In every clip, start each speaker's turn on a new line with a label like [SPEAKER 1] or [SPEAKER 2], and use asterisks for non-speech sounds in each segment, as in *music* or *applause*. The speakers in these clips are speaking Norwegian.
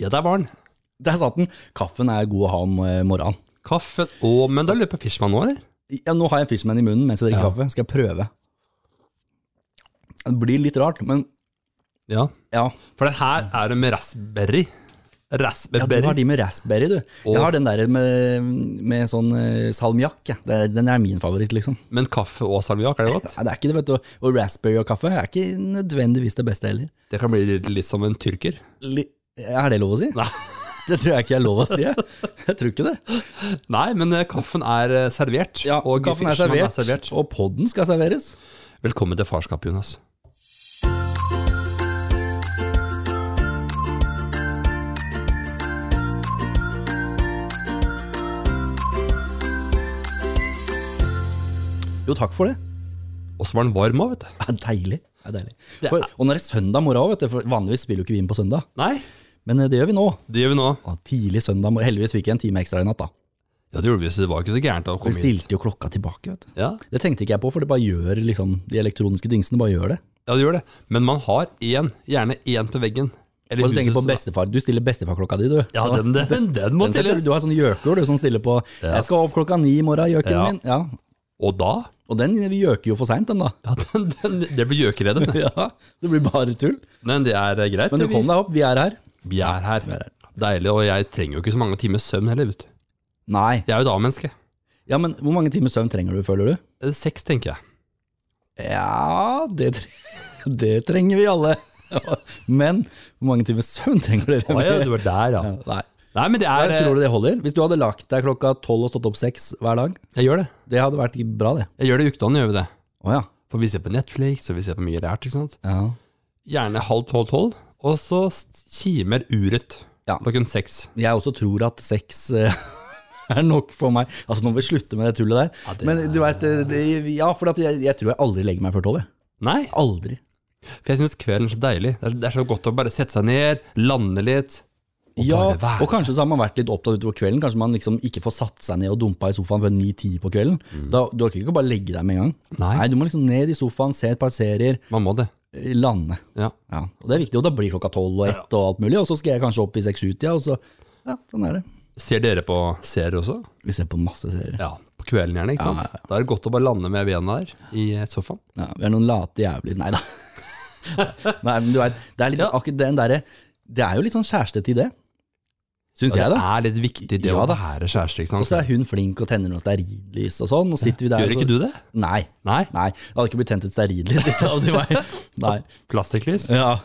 [SPEAKER 1] Ja, der var den.
[SPEAKER 2] Der satt den. Kaffen er god å ha om eh, morgenen.
[SPEAKER 1] Kaffe og Men du har løpt på Fishman nå, eller?
[SPEAKER 2] Ja, nå har jeg en Fishman i munnen mens jeg drikker
[SPEAKER 1] Ja.
[SPEAKER 2] kaffe. Skal jeg prøve? Det blir litt rart, men
[SPEAKER 1] Ja.
[SPEAKER 2] ja.
[SPEAKER 1] For den her er det med raspberry.
[SPEAKER 2] ja du
[SPEAKER 1] Raspberry.
[SPEAKER 2] har de med raspberry, du. Jeg
[SPEAKER 1] Og-
[SPEAKER 2] har den der med, med sånn eh, salmiakk. jeg. Det er- Den er min favoritt, liksom.
[SPEAKER 1] Men kaffe og salmiakk, er det godt?
[SPEAKER 2] Nei, det er ikke det, vet du. Og raspberry og kaffe er ikke nødvendigvis *laughs* det beste heller.
[SPEAKER 1] Det kan bli litt, litt som en tyrker.
[SPEAKER 2] Li er det lov å si?
[SPEAKER 1] Nei.
[SPEAKER 2] Det tror jeg ikke er lov å si. Jeg, jeg tror ikke det.
[SPEAKER 1] Nei, men eh, kaffen er eh, servert. og
[SPEAKER 2] kaffen er
[SPEAKER 1] Fishman
[SPEAKER 2] servert, og podden skal serveres.
[SPEAKER 1] Velkommen til farskap, Jonas.
[SPEAKER 2] Jo, takk for det.
[SPEAKER 1] Og så var den varm òg, vet
[SPEAKER 2] *laughs*
[SPEAKER 1] du.
[SPEAKER 2] Det er deilig. Det er deilig.
[SPEAKER 1] Det er-
[SPEAKER 2] For, og nå er det søndag morgen òg, vet du. For vanligvis spiller jo ikke vi inn på søndag.
[SPEAKER 1] Nei,
[SPEAKER 2] Men eh, det gjør vi nå.
[SPEAKER 1] det gjør vi nå.
[SPEAKER 2] Ja, tidlig søndag morgen. Heldigvis fikk jeg en time ekstra i natt, da.
[SPEAKER 1] Ja, det gjorde vi, så det var ikke så gærent å
[SPEAKER 2] Vi
[SPEAKER 1] komme hit.
[SPEAKER 2] stilte jo klokka tilbake, vet du.
[SPEAKER 1] Ja,
[SPEAKER 2] Det tenkte ikke jeg på, for det bare gjør liksom De elektroniske dingsene bare gjør det.
[SPEAKER 1] ja, det gjør det. Men man har én, gjerne én på veggen. Eller
[SPEAKER 2] Og du tenker på
[SPEAKER 1] husets-
[SPEAKER 2] bestefar. Du stiller bestefarklokka di, du.
[SPEAKER 1] Ja, den, den, den, den må
[SPEAKER 2] Den setter-
[SPEAKER 1] stilles.
[SPEAKER 2] Du har sånn gjøkur du som stiller på 'Jeg skal opp klokka ni i morgen, gjøken
[SPEAKER 1] Ja.
[SPEAKER 2] min'. Ja.
[SPEAKER 1] Og da?
[SPEAKER 2] Og den gjøker jo for seint,
[SPEAKER 1] *laughs*
[SPEAKER 2] den da.
[SPEAKER 1] Ja, den, den, det blir gjøkeredet.
[SPEAKER 2] Ja, Det blir bare tull.
[SPEAKER 1] Men det er eh, greit.
[SPEAKER 2] Men du
[SPEAKER 1] det,
[SPEAKER 2] kom deg opp, vi er her.
[SPEAKER 1] vi, vi er her. Deilig. Og jeg trenger jo ikke så mange timers søvn heller, vet du.
[SPEAKER 2] Nei.
[SPEAKER 1] Jeg er jo da-menneske.
[SPEAKER 2] Ja, men hvor mange timer søvn trenger du, føler du?
[SPEAKER 1] Eh, Seks, tenker jeg.
[SPEAKER 2] Ja, det, tre- *laughs* det trenger vi alle. *laughs* Men hvor mange timer søvn trenger dere?
[SPEAKER 1] var der, *laughs* ja.
[SPEAKER 2] Nei.
[SPEAKER 1] Nei, men det er
[SPEAKER 2] Jeg tror
[SPEAKER 1] eh,
[SPEAKER 2] du det holder? Hvis du hadde lagt deg klokka tolv og stått opp seks hver dag,
[SPEAKER 1] Jeg gjør det.
[SPEAKER 2] det hadde vært bra, det.
[SPEAKER 1] Jeg gjør det i ukedagene, gjør vi det.
[SPEAKER 2] Å ja.
[SPEAKER 1] For vi ser på Netflix, og vi ser på mye rært, ikke sant.
[SPEAKER 2] ja.
[SPEAKER 1] Gjerne halv tolv-tolv, og så kimer uret
[SPEAKER 2] Ja.
[SPEAKER 1] klokken seks.
[SPEAKER 2] Jeg også tror at seks eh, *laughs* er nok for meg. Altså, nå må vi slutte med det tullet der.
[SPEAKER 1] Ja, det
[SPEAKER 2] Men du veit Ja, for at jeg, jeg tror jeg aldri legger meg før tolv, jeg.
[SPEAKER 1] Nei,
[SPEAKER 2] Aldri.
[SPEAKER 1] for jeg syns kvelden er så deilig. Det er, det er så godt å bare sette seg ned, lande litt. Og
[SPEAKER 2] Ja,
[SPEAKER 1] bare være.
[SPEAKER 2] og kanskje så har man vært litt opptatt utover kvelden. Kanskje man liksom ikke får satt seg ned og dumpa i sofaen før 9-10 på kvelden.
[SPEAKER 1] Mm.
[SPEAKER 2] Da, du orker ikke å bare legge deg med en gang.
[SPEAKER 1] Nei.
[SPEAKER 2] du må liksom ned i sofaen, se et par serier,
[SPEAKER 1] Man må det.
[SPEAKER 2] eh, lande.
[SPEAKER 1] Ja.
[SPEAKER 2] Ja, og Det er viktig, og da blir klokka tolv og ett og alt mulig, og så skal jeg kanskje opp i seks-sju-tida, og så Ja, sånn er det.
[SPEAKER 1] Ser dere på serier også?
[SPEAKER 2] Vi ser på masse serier.
[SPEAKER 1] Ja, på kvelden gjerne, ikke sant? Da er det godt å bare lande med bena der i sofaen.
[SPEAKER 2] Ja, vi er noen late jævler. Nei da. *laughs* Nei, men du vet, det er litt
[SPEAKER 1] Ja.
[SPEAKER 2] akkurat den derre Det er jo litt sånn kjærestetid, det. Syns jeg,
[SPEAKER 1] det
[SPEAKER 2] da.
[SPEAKER 1] er litt viktig det
[SPEAKER 2] Ja,
[SPEAKER 1] å
[SPEAKER 2] da.
[SPEAKER 1] være kjæreste, ikke
[SPEAKER 2] Og så
[SPEAKER 1] sant.
[SPEAKER 2] er hun flink og tenner noen stearinlys og sånn, og sitter vi der
[SPEAKER 1] Gjør ikke du det?
[SPEAKER 2] Nei.
[SPEAKER 1] Nei?
[SPEAKER 2] Nei, det hadde ikke blitt tent et stearinlys hvis det hadde vært meg.
[SPEAKER 1] *laughs*
[SPEAKER 2] Nei.
[SPEAKER 1] Plastikklys?
[SPEAKER 2] Ja.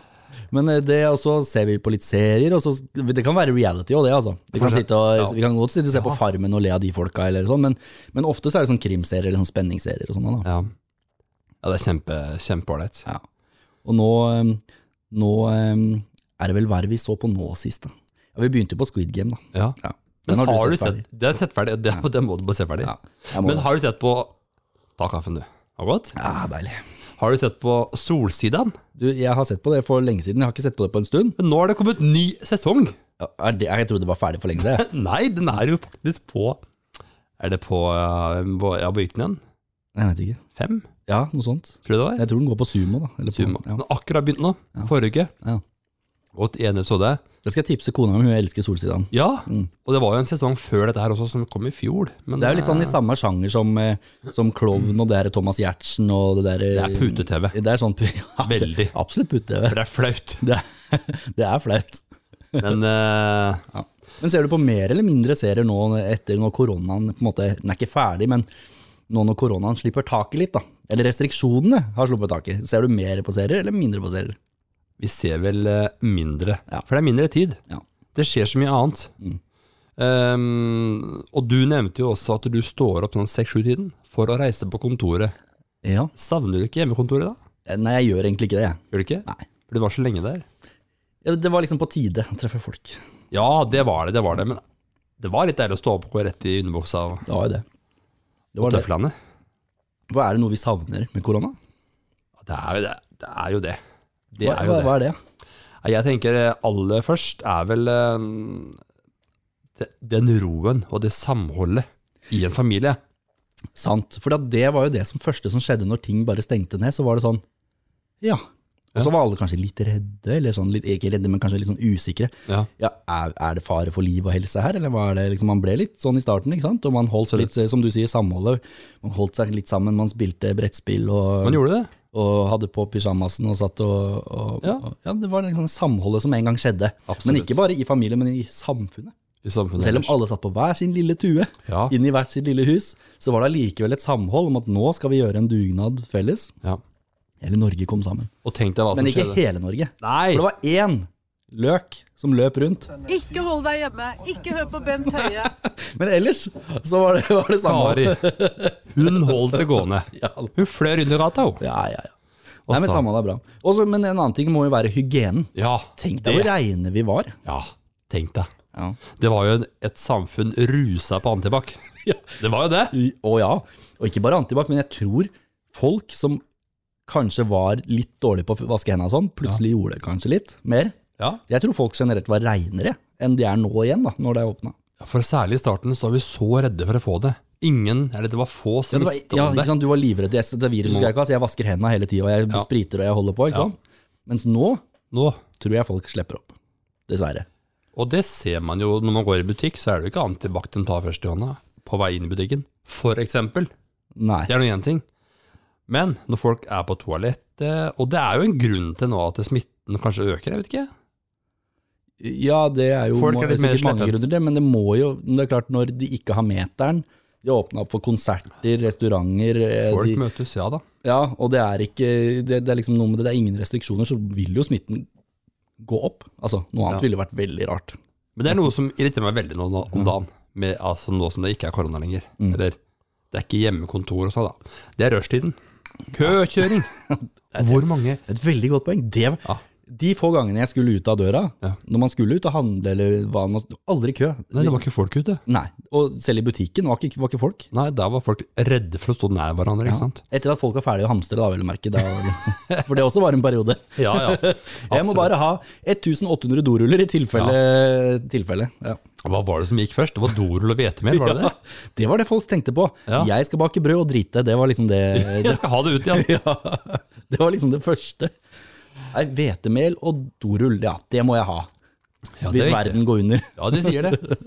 [SPEAKER 2] Men eh, det, og så ser vi på litt serier, og så Det kan være reality òg, det, altså. Vi kan,
[SPEAKER 1] Kanskje.
[SPEAKER 2] sitte og,
[SPEAKER 1] Ja.
[SPEAKER 2] vi kan godt sitte og se på Farmen og le av de folka, eller sånn, men, men ofte så er det sånn krimserier eller sånn spenningsserier og sånn. da.
[SPEAKER 1] Ja. ja, det er kjempe, kjempeålreit.
[SPEAKER 2] Ja. Og nå, eh, nå eh, er det vel hva er det vi så på nå sist, da. Ja, vi begynte jo på Squid Game, da.
[SPEAKER 1] Ja.
[SPEAKER 2] Ja. Den
[SPEAKER 1] Men har, du
[SPEAKER 2] ferdig?
[SPEAKER 1] sett, det er sett ferdig, og det, det må du bare se ferdig.
[SPEAKER 2] Ja, jeg må
[SPEAKER 1] Men
[SPEAKER 2] det.
[SPEAKER 1] har du sett på Ta kaffen, du. Har du gått?
[SPEAKER 2] Ja, deilig.
[SPEAKER 1] Har du sett på Solsidaen?
[SPEAKER 2] Du, jeg har sett på det for lenge siden, jeg har ikke sett på det på en stund.
[SPEAKER 1] Men nå har det kommet ny sesong.
[SPEAKER 2] Ja, er det, jeg trodde det var ferdig for lenge siden.
[SPEAKER 1] *laughs* Nei, den er jo faktisk på Er det på eh, på- Ja, på hvilken igjen?
[SPEAKER 2] Jeg vet ikke.
[SPEAKER 1] Fem,
[SPEAKER 2] Ja, noe sånt.
[SPEAKER 1] tror jeg det var?
[SPEAKER 2] Jeg tror den går på Sumo, da. Eller på-
[SPEAKER 1] Sumo.
[SPEAKER 2] Ja.
[SPEAKER 1] Den har akkurat begynt nå. Forrige uke.
[SPEAKER 2] Ja.
[SPEAKER 1] Og til en episode.
[SPEAKER 2] Da skal jeg tipse kona om, hun elsker Solsidan.
[SPEAKER 1] Ja, og det var jo en sesong før dette her også, som kom i fjor. Men
[SPEAKER 2] Det er jo litt sånn i samme sjanger som, eh, som Klovn og det der Thomas Giertsen og det der
[SPEAKER 1] Det er pute-TV.
[SPEAKER 2] Det er sånn pu- *laughs* ja, det-
[SPEAKER 1] Veldig.
[SPEAKER 2] Absolutt pute-TV.
[SPEAKER 1] For det er flaut.
[SPEAKER 2] Det, er- *laughs* det er flaut.
[SPEAKER 1] Men eh,
[SPEAKER 2] Men ser du på mer eller mindre serier nå etter når koronaen på en måte, Den er ikke ferdig, men nå når koronaen slipper taket litt, da. Eller restriksjonene har sluppet taket. Ser du mer på serier eller mindre på serier?
[SPEAKER 1] vi ser vel eh, mindre.
[SPEAKER 2] Ja.
[SPEAKER 1] For det er mindre tid.
[SPEAKER 2] Ja. Mm.
[SPEAKER 1] Det skjer så mye annet. Ehm, og du nevnte jo også at du står opp sånn 6-7-tiden for å reise på kontoret.
[SPEAKER 2] ja.
[SPEAKER 1] Savner du ikke hjemmekontoret da?
[SPEAKER 2] Eh, Nei, jeg gjør egentlig ikke det, jeg.
[SPEAKER 1] Gjør du ikke?
[SPEAKER 2] Nei.
[SPEAKER 1] For det var så lenge der.
[SPEAKER 2] Ja, Det var liksom på tide å treffe folk.
[SPEAKER 1] Ja, det var det, det var det. Men det var litt deilig å stå opp og gå rett i underbuksa og
[SPEAKER 2] Det var jo det. Det var
[SPEAKER 1] og
[SPEAKER 2] det.
[SPEAKER 1] tøflene.
[SPEAKER 2] Hva er det noe vi savner med korona?
[SPEAKER 1] Det er jo det. Det er jo det. Det
[SPEAKER 2] Hva,
[SPEAKER 1] er jo
[SPEAKER 2] hva,
[SPEAKER 1] det.
[SPEAKER 2] hva er det?
[SPEAKER 1] Nei, Jeg tenker eh, aller først er vel eh, de- den roen og det samholdet i en familie.
[SPEAKER 2] Sant. For at det var jo det som første som skjedde når ting bare stengte ned. Så var det sånn Ja, Og så var alle kanskje litt redde, eller sånn, litt, ikke redde, men kanskje litt sånn usikre.
[SPEAKER 1] Ja.
[SPEAKER 2] Ja, er, er det fare for liv og helse her, eller hva er det? Liksom, man ble litt sånn i starten, ikke sant? Og man holdt
[SPEAKER 1] Absolutt.
[SPEAKER 2] litt, eh, som du sier, samholdet. Man holdt seg litt sammen, man spilte brettspill og,
[SPEAKER 1] Man gjorde det.
[SPEAKER 2] og hadde på pyjamasen og satt og, og
[SPEAKER 1] Ja.
[SPEAKER 2] og, ja det var liksom samholdet som en gang skjedde.
[SPEAKER 1] Absolutt.
[SPEAKER 2] Men ikke bare i familien, men i samfunnet.
[SPEAKER 1] I samfunnet
[SPEAKER 2] Selv om
[SPEAKER 1] ellers.
[SPEAKER 2] alle satt på hver sin lille tue,
[SPEAKER 1] Ja.
[SPEAKER 2] inn i hvert sitt lille hus, så var det allikevel et samhold om at nå skal vi gjøre en dugnad felles.
[SPEAKER 1] ja.
[SPEAKER 2] Hele Norge kom sammen.
[SPEAKER 1] Og tenk deg hva som
[SPEAKER 2] Men ikke
[SPEAKER 1] skjedde.
[SPEAKER 2] hele Norge. For det
[SPEAKER 1] Nei!
[SPEAKER 2] var én løk som løp rundt.
[SPEAKER 3] Ikke hold deg hjemme. Ikke hør på Bent Høie.
[SPEAKER 2] Men ellers så var det, var det samme.
[SPEAKER 1] Kari. Hun holdt det gående.
[SPEAKER 2] Ja,
[SPEAKER 1] Hun fløy rundt i gata, hun.
[SPEAKER 2] ja, ja. ja. Nei, men
[SPEAKER 1] sa-
[SPEAKER 2] samme det er bra. Også, men en annen ting må jo være hygienen.
[SPEAKER 1] Ja,
[SPEAKER 2] Tenk deg hvor
[SPEAKER 1] det.
[SPEAKER 2] reine vi var.
[SPEAKER 1] Ja, tenk deg.
[SPEAKER 2] Ja.
[SPEAKER 1] Det var jo en, et samfunn rusa på antibac.
[SPEAKER 2] *laughs*
[SPEAKER 1] Det var jo det.
[SPEAKER 2] Og ja, og ikke bare antibac, men jeg tror folk som kanskje var litt dårlige på å vaske hendene og sånn, plutselig gjorde det kanskje litt mer.
[SPEAKER 1] Ja.
[SPEAKER 2] Jeg tror folk generelt var reinere enn de er nå igjen, da, når det er åpna.
[SPEAKER 1] For særlig i starten så var vi så redde for å få det. Ingen, eller det var få som
[SPEAKER 2] Det var-
[SPEAKER 1] visste
[SPEAKER 2] Ja,
[SPEAKER 1] om
[SPEAKER 2] ikke
[SPEAKER 1] det.
[SPEAKER 2] sant? Du var livredd. Jeg- Dette viruset skal jeg ikke ha, så jeg vasker hendene hele tida, og jeg
[SPEAKER 1] Ja.
[SPEAKER 2] spriter og jeg holder på. ikke
[SPEAKER 1] Ja.
[SPEAKER 2] sant? Mens nå
[SPEAKER 1] Nå.
[SPEAKER 2] tror jeg folk slipper opp. Dessverre.
[SPEAKER 1] Og det ser man jo når man går i butikk, så er det jo ikke antibac de tar først i hånda på vei inn i butikken. For eksempel.
[SPEAKER 2] Nei.
[SPEAKER 1] Det er nå én ting. Men når folk er på toalettet Og det er jo en grunn til nå at smitten kanskje øker, jeg vet ikke.
[SPEAKER 2] Ja, det er jo
[SPEAKER 1] Folk er litt
[SPEAKER 2] sikkert
[SPEAKER 1] mer
[SPEAKER 2] mange
[SPEAKER 1] slepphendt.
[SPEAKER 2] grunner til det, men det må jo men Det er klart, når de ikke har meteren De har åpna opp for konserter, restauranter eh,
[SPEAKER 1] Folk
[SPEAKER 2] de,
[SPEAKER 1] møtes, ja da.
[SPEAKER 2] Ja, og det er ikke det, det er liksom noe med det, det er ingen restriksjoner, så vil jo smitten gå opp. Altså, noe annet
[SPEAKER 1] Ja.
[SPEAKER 2] ville vært veldig rart.
[SPEAKER 1] Men det er noe som irriterer meg veldig nå nå om dagen, med, altså nå som det ikke er korona lenger. Eller det er ikke hjemmekontor og sånn, da. Det er rushtiden. Køkjøring! Hvor mange
[SPEAKER 2] Et veldig godt poeng. Det,
[SPEAKER 1] Ja.
[SPEAKER 2] De få gangene jeg skulle ut av døra,
[SPEAKER 1] Ja.
[SPEAKER 2] når man skulle ut og handle eller hva man Aldri kø.
[SPEAKER 1] Nei, det var ikke folk ute.
[SPEAKER 2] Nei. Og selv i butikken var ikke, var ikke folk.
[SPEAKER 1] Nei, der var folk redde for å stå nær hverandre, ikke sant.
[SPEAKER 2] Etter at folk var ferdige å hamstre, da, vel å merke. Da,
[SPEAKER 1] *laughs*
[SPEAKER 2] for det også var en periode.
[SPEAKER 1] Ja, ja.
[SPEAKER 2] Jeg må bare ha 1800 doruller i tilfelle. tilfelle ja.
[SPEAKER 1] Hva var det som gikk først? Det var dorull og hvetemel, var det
[SPEAKER 2] *laughs*
[SPEAKER 1] det?
[SPEAKER 2] det var det folk tenkte på.
[SPEAKER 1] Ja.
[SPEAKER 2] Jeg skal bake brød og drite. Det var liksom det,
[SPEAKER 1] Eh, *laughs* Jeg skal ha det ut igjen.
[SPEAKER 2] ja, det, var liksom det første. Nei, Hvetemel og dorull, ja, det må jeg ha.
[SPEAKER 1] Ja, det
[SPEAKER 2] Hvis
[SPEAKER 1] er viktig.
[SPEAKER 2] verden går under.
[SPEAKER 1] Ja, de sier det.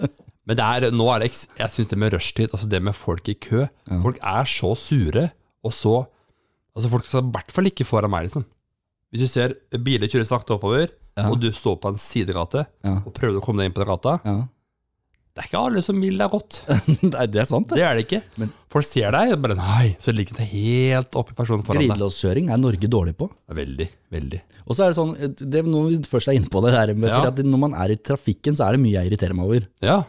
[SPEAKER 1] Men det er, nå er det, eks- jeg synes det med rushtid, altså det med folk i kø, folk er så sure, og så, altså folk skal i hvert fall ikke foran meg, liksom. Hvis du ser biler kjører sakte oppover, og du står på en sidegate,
[SPEAKER 2] Ja.
[SPEAKER 1] og prøver å komme deg inn på den gata,
[SPEAKER 2] Ja.
[SPEAKER 1] det er ikke alle som vil deg godt.
[SPEAKER 2] Nei, det er sant. det.
[SPEAKER 1] Det er det
[SPEAKER 2] *laughs*
[SPEAKER 1] ikke. folk ser deg, og bare nei, så ligger det helt opp i personen foran deg.
[SPEAKER 2] Glidelåskjøring er Norge dårlig på.
[SPEAKER 1] Veldig, veldig.
[SPEAKER 2] Og så er det sånn, det, når vi først er inne på det der, med,
[SPEAKER 1] Ja.
[SPEAKER 2] fordi at når man er i trafikken, så er det mye jeg irriterer meg over.
[SPEAKER 1] Ja,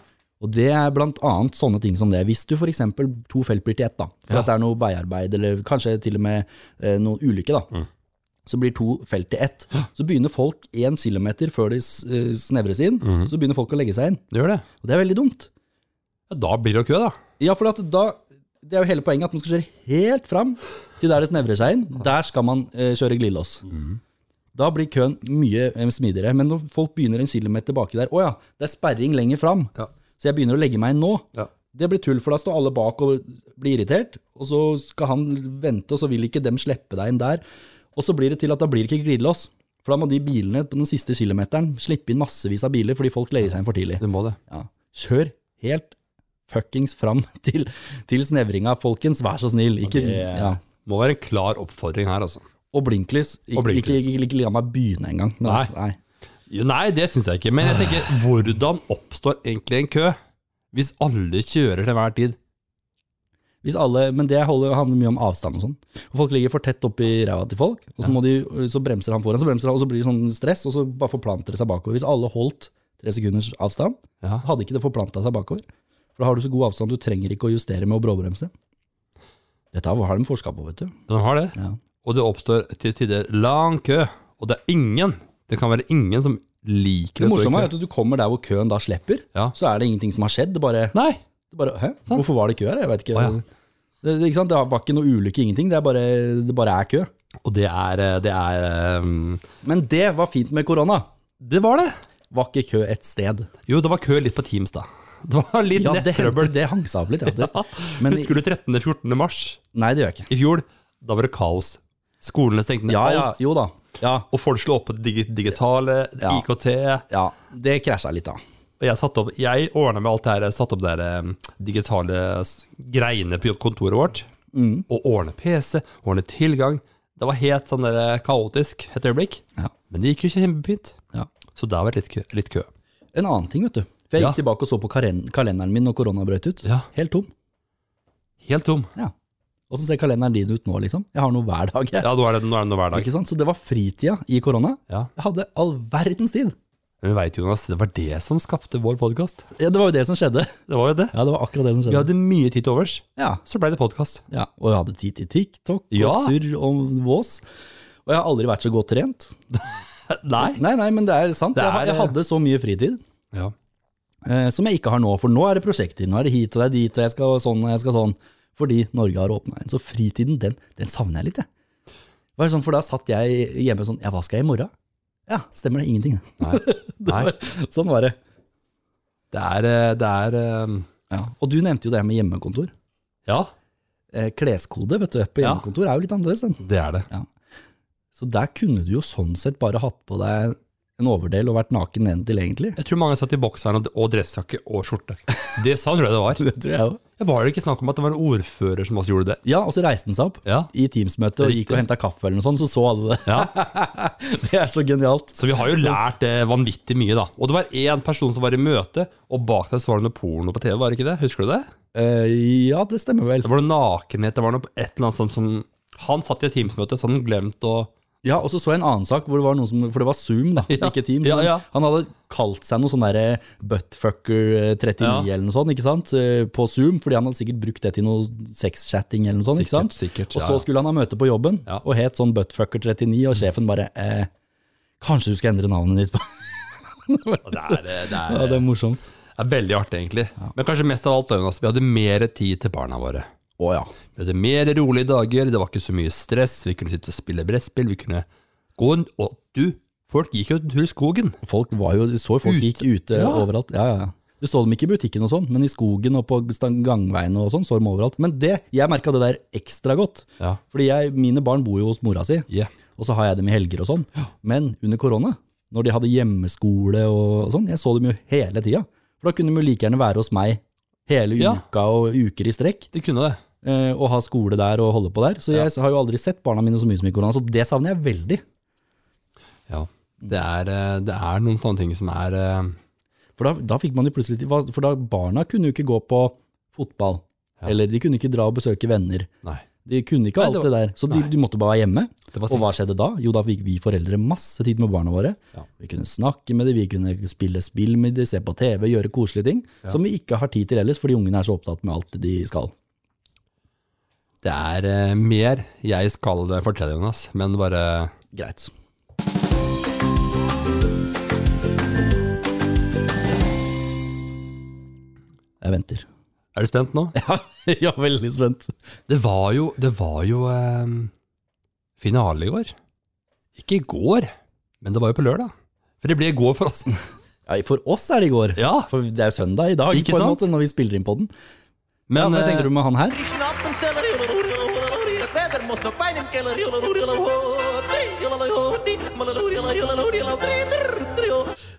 [SPEAKER 2] Og det er blant annet sånne ting som det. Hvis du for eksempel to felt blir til ett, da, for
[SPEAKER 1] Ja.
[SPEAKER 2] at det er noe veiarbeid, eller kanskje til og med eh, noen ulykke, da, så blir to felt til ett. Så begynner folk én kilometer før de s- eh, snevres inn, så begynner folk å legge seg inn.
[SPEAKER 1] det gjør det.
[SPEAKER 2] Og det er veldig dumt.
[SPEAKER 1] Ja, da blir det jo kø da.
[SPEAKER 2] Ja, for at da, det er jo hele poenget at man skal kjøre helt fram til der det snevrer seg inn. Der skal man eh, kjøre glidelås. Da blir køen mye eh, smidigere. Men når folk begynner en kilometer baki der, å ja, det er sperring lenger fram,
[SPEAKER 1] Ja.
[SPEAKER 2] så jeg begynner å legge meg inn nå.
[SPEAKER 1] Ja.
[SPEAKER 2] Det blir tull, for da står alle bak og blir irritert, og så skal han vente, og så vil ikke dem slippe deg inn der. Og så blir det til at da blir det ikke glidelås. For da må de bilene på den siste kilometeren slippe inn massevis av biler fordi folk legger seg inn for tidlig.
[SPEAKER 1] Du må det.
[SPEAKER 2] Ja. Kjør helt fuckings fram *laughs* til, til snevringa, folkens. Vær så snill. Ikke, ja.
[SPEAKER 1] Må være en klar oppfordring her, altså.
[SPEAKER 2] Og blinklys. Ikke,
[SPEAKER 1] Og blinklys.
[SPEAKER 2] Ikke, ikke, ikke la meg begynne engang. Men-
[SPEAKER 1] Nei.
[SPEAKER 2] Nei.
[SPEAKER 1] Jo, nei, det syns jeg ikke. Men jeg
[SPEAKER 2] Ah.
[SPEAKER 1] tenker, hvordan oppstår egentlig en kø? Hvis alle kjører til hver tid.
[SPEAKER 2] Hvis alle, men det holder, handler mye om avstand og sånn. Og Folk ligger for tett oppi ræva til folk, og så, må de, så bremser han foran, så bremser han, og så blir det sånn stress, og så bare forplanter det seg bakover. Hvis alle holdt tre sekunders avstand,
[SPEAKER 1] Ja.
[SPEAKER 2] så hadde ikke det forplanta seg bakover. For da har du så god avstand, du trenger ikke å justere med å bråbremse. Dette har de forska på, vet du.
[SPEAKER 1] De har det.
[SPEAKER 2] Ja.
[SPEAKER 1] Og det oppstår til tider lang kø. Og det er ingen, det kan være ingen som liker
[SPEAKER 2] Det
[SPEAKER 1] å stå
[SPEAKER 2] morsomme
[SPEAKER 1] i
[SPEAKER 2] er
[SPEAKER 1] kø.
[SPEAKER 2] at du kommer der hvor køen da slipper,
[SPEAKER 1] Ja.
[SPEAKER 2] så er det ingenting som har skjedd. Det bare,
[SPEAKER 1] Nei,
[SPEAKER 2] det bare Hæ? Hvorfor var det kø her? Jeg vet ikke.
[SPEAKER 1] Å, ja.
[SPEAKER 2] det, det, ikke sant? det var ikke noe ulykke, ingenting. Det, er bare, det bare er kø.
[SPEAKER 1] og det er, eh, det er um,
[SPEAKER 2] Men det var fint med korona.
[SPEAKER 1] Det var det.
[SPEAKER 2] Var ikke kø et sted.
[SPEAKER 1] Jo, det var kø litt på Teams, da. *laughs* Det var litt
[SPEAKER 2] Ja, det, hendte-
[SPEAKER 1] nettrøbbel.
[SPEAKER 2] det hang seg
[SPEAKER 1] *laughs*
[SPEAKER 2] opp litt. Ja. Det, men,
[SPEAKER 1] Husker du 13.-14. mars
[SPEAKER 2] nei, det gjør jeg ikke.
[SPEAKER 1] i fjor? Da var det kaos Skolene stengte ned
[SPEAKER 2] Ja, ja,
[SPEAKER 1] alt.
[SPEAKER 2] jo da. Ja,
[SPEAKER 1] Og folk slo opp på digi digitale,
[SPEAKER 2] Ja.
[SPEAKER 1] IKT.
[SPEAKER 2] ja det krasja litt, da.
[SPEAKER 1] Og jeg, satte opp- jeg ordna med alt det her. Jeg satte opp det her em, digitale s- greiene på kontoret vårt. Og ordne PC, ordne tilgang. Det var helt sånn der kaotisk et øyeblikk.
[SPEAKER 2] Ja.
[SPEAKER 1] Men det gikk jo kjempefint.
[SPEAKER 2] Ja.
[SPEAKER 1] Så der var det litt kø. Litt kø.
[SPEAKER 2] En annen ting, vet du. For jeg
[SPEAKER 1] Ja.
[SPEAKER 2] gikk tilbake og så på karen kalenderen min når korona brøt ut.
[SPEAKER 1] Ja.
[SPEAKER 2] Helt tom.
[SPEAKER 1] Helt tom.
[SPEAKER 2] Ja. Åssen ser kalenderen din ut nå, liksom? Jeg har noe hver dag, jeg.
[SPEAKER 1] Ja, nå er det, nå er det noe hverdag.
[SPEAKER 2] Ikke sant? Så det var fritida i korona.
[SPEAKER 1] Ja.
[SPEAKER 2] Jeg hadde all verdens tid.
[SPEAKER 1] Men veit Jonas, det var det som skapte vår podkast.
[SPEAKER 2] Ja, det var jo det som skjedde. *laughs*
[SPEAKER 1] Det var jo det.
[SPEAKER 2] Ja, det var akkurat det som
[SPEAKER 1] Vi
[SPEAKER 2] skjedde.
[SPEAKER 1] hadde mye tid til overs,
[SPEAKER 2] Ja,
[SPEAKER 1] så blei det podkast.
[SPEAKER 2] ja. Og jeg hadde tid til TikTok og
[SPEAKER 1] Ja.
[SPEAKER 2] surr og vås. Og jeg har aldri vært så godt trent.
[SPEAKER 1] Nei.
[SPEAKER 2] Nei, nei, men det er sant.
[SPEAKER 1] Det
[SPEAKER 2] Jeg ha-
[SPEAKER 1] er-
[SPEAKER 2] jeg hadde så mye fritid.
[SPEAKER 1] Ja.
[SPEAKER 2] eh, som jeg ikke har nå. For nå er det prosjekter. Nå er det hit og det er dit, og jeg skal sånn og jeg skal sånn. Fordi Norge har åpna igjen. Så fritiden, den, den savner jeg litt, jeg. Det Var sånn, for da satt jeg hjemme sånn Ja, hva skal jeg i morgen? Ja, stemmer det. Ingenting. *laughs*
[SPEAKER 1] Nei.
[SPEAKER 2] Det
[SPEAKER 1] Nei.
[SPEAKER 2] var, sånn var det.
[SPEAKER 1] Det er, eh, det er eh,
[SPEAKER 2] Ja. Og du nevnte jo det her med hjemmekontor.
[SPEAKER 1] Ja,
[SPEAKER 2] Eh, Kleskode vet du, på
[SPEAKER 1] Ja.
[SPEAKER 2] hjemmekontor er jo litt annerledes. Den.
[SPEAKER 1] det er det.
[SPEAKER 2] Så der kunne du jo sånn sett bare hatt på deg en overdel og vært naken nedentil, egentlig.
[SPEAKER 1] Jeg tror mange satt i bokseren og, og dressjakke og skjorte. Det sa han, tror jeg det var.
[SPEAKER 2] Det tror jeg også.
[SPEAKER 1] Det var det ikke snakk om at det var en ordfører som også gjorde det.
[SPEAKER 2] Ja, og så reiste han seg opp
[SPEAKER 1] Ja.
[SPEAKER 2] i Teams-møtet og
[SPEAKER 1] Riktig.
[SPEAKER 2] gikk og henta kaffe eller noe sånt, så så alle det.
[SPEAKER 1] ja.
[SPEAKER 2] *laughs* Det er så genialt.
[SPEAKER 1] Så vi har jo lært det vanvittig mye, da. Og det var én person som var i møte, og bak deg så var det noe porno på TV, var det ikke det? Husker du det?
[SPEAKER 2] Eh, ja, det stemmer vel.
[SPEAKER 1] Det var noe nakenhet, det var noe et eller annet som, som Han satt i et Teams-møte, så han glemte å
[SPEAKER 2] Ja, og så så jeg en annen sak, hvor det var noen som, for det var Zoom, da,
[SPEAKER 1] Ja,
[SPEAKER 2] ikke Teams.
[SPEAKER 1] ja,
[SPEAKER 2] men
[SPEAKER 1] ja.
[SPEAKER 2] Han hadde kalt seg noe sånn derre buttfucker39
[SPEAKER 1] Ja.
[SPEAKER 2] eh, eller noe sånt, ikke sant, eh, på Zoom, fordi han hadde sikkert brukt det til noe sexchatting eller noe sånt, ikke sant.
[SPEAKER 1] sikkert.
[SPEAKER 2] Og så skulle han ha møte på jobben,
[SPEAKER 1] Ja. Mm.
[SPEAKER 2] og het sånn buttfucker39, og sjefen bare eh, Kanskje du skal endre navnet ditt på
[SPEAKER 1] *laughs* ja. det, er, eh, det,
[SPEAKER 2] Ja,
[SPEAKER 1] er,
[SPEAKER 2] det er morsomt.
[SPEAKER 1] det er veldig artig, egentlig. Men kanskje mest av alt, da, Jonas, vi hadde mer tid til barna våre.
[SPEAKER 2] Å ja.
[SPEAKER 1] Vi hadde mer rolige dager, det var ikke så mye stress, vi kunne sitte og spille brettspill, vi kunne gå en Og du, folk gikk jo en tur i skogen.
[SPEAKER 2] Folk var jo, du så jo folk gikk ute
[SPEAKER 1] Ja.
[SPEAKER 2] overalt. Ja, ja, ja. Du så dem ikke i butikken og sånn, men i skogen og på stang- gangveiene og sånn, så dem overalt. Men det, jeg merka det der ekstra godt.
[SPEAKER 1] Ja.
[SPEAKER 2] Fordi jeg, mine barn bor jo hos mora si,
[SPEAKER 1] Yeah.
[SPEAKER 2] og så har jeg dem i helger og sånn. Men under korona, når de hadde hjemmeskole og sånn, jeg så dem jo hele tida. For da kunne de jo like gjerne være hos meg hele
[SPEAKER 1] Ja.
[SPEAKER 2] uka og uker i strekk,
[SPEAKER 1] De kunne det.
[SPEAKER 2] eh, og ha skole der og holde på der. Så jeg har jo aldri sett barna mine så mye som i korona, så det savner jeg veldig.
[SPEAKER 1] Ja. Det er, eh, det er noen sånne ting som er eh,
[SPEAKER 2] For da, da fikk man jo plutselig hva- For da barna kunne jo ikke gå på fotball. Eller de kunne ikke dra og besøke venner.
[SPEAKER 1] Nei.
[SPEAKER 2] De kunne ikke
[SPEAKER 1] Nei,
[SPEAKER 2] alt
[SPEAKER 1] det
[SPEAKER 2] det
[SPEAKER 1] var-
[SPEAKER 2] der. Så de,
[SPEAKER 1] nei.
[SPEAKER 2] de måtte bare være hjemme.
[SPEAKER 1] Det var
[SPEAKER 2] Og hva skjedde da? Jo, da fikk vi foreldre masse tid med barna våre.
[SPEAKER 1] Ja.
[SPEAKER 2] Vi kunne snakke med dem, vi kunne spille spill med dem, se på TV, gjøre koselige ting. Som vi ikke har tid til ellers, fordi ungene er så opptatt med alt de skal.
[SPEAKER 1] Det er eh, mer jeg skal fortelle, Jonas, men bare
[SPEAKER 2] Greit. Jeg
[SPEAKER 1] *laughs*
[SPEAKER 2] venter.
[SPEAKER 1] Er du spent nå?
[SPEAKER 2] Ja, jeg er veldig spent.
[SPEAKER 1] Det var jo, det var jo eh, finale i går. Ikke i går, men det var jo på lørdag. For det ble i går for oss.
[SPEAKER 2] Ja, for oss er det i går.
[SPEAKER 1] *laughs* Ja,
[SPEAKER 2] For det er jo søndag i dag,
[SPEAKER 1] Ikke
[SPEAKER 2] på en
[SPEAKER 1] sant?
[SPEAKER 2] måte, når vi spiller inn på den. Ja,
[SPEAKER 1] men
[SPEAKER 2] hva tenker
[SPEAKER 1] eh,
[SPEAKER 2] du med han her?
[SPEAKER 4] Listen up and sell it. The feather must not find him. Kill it.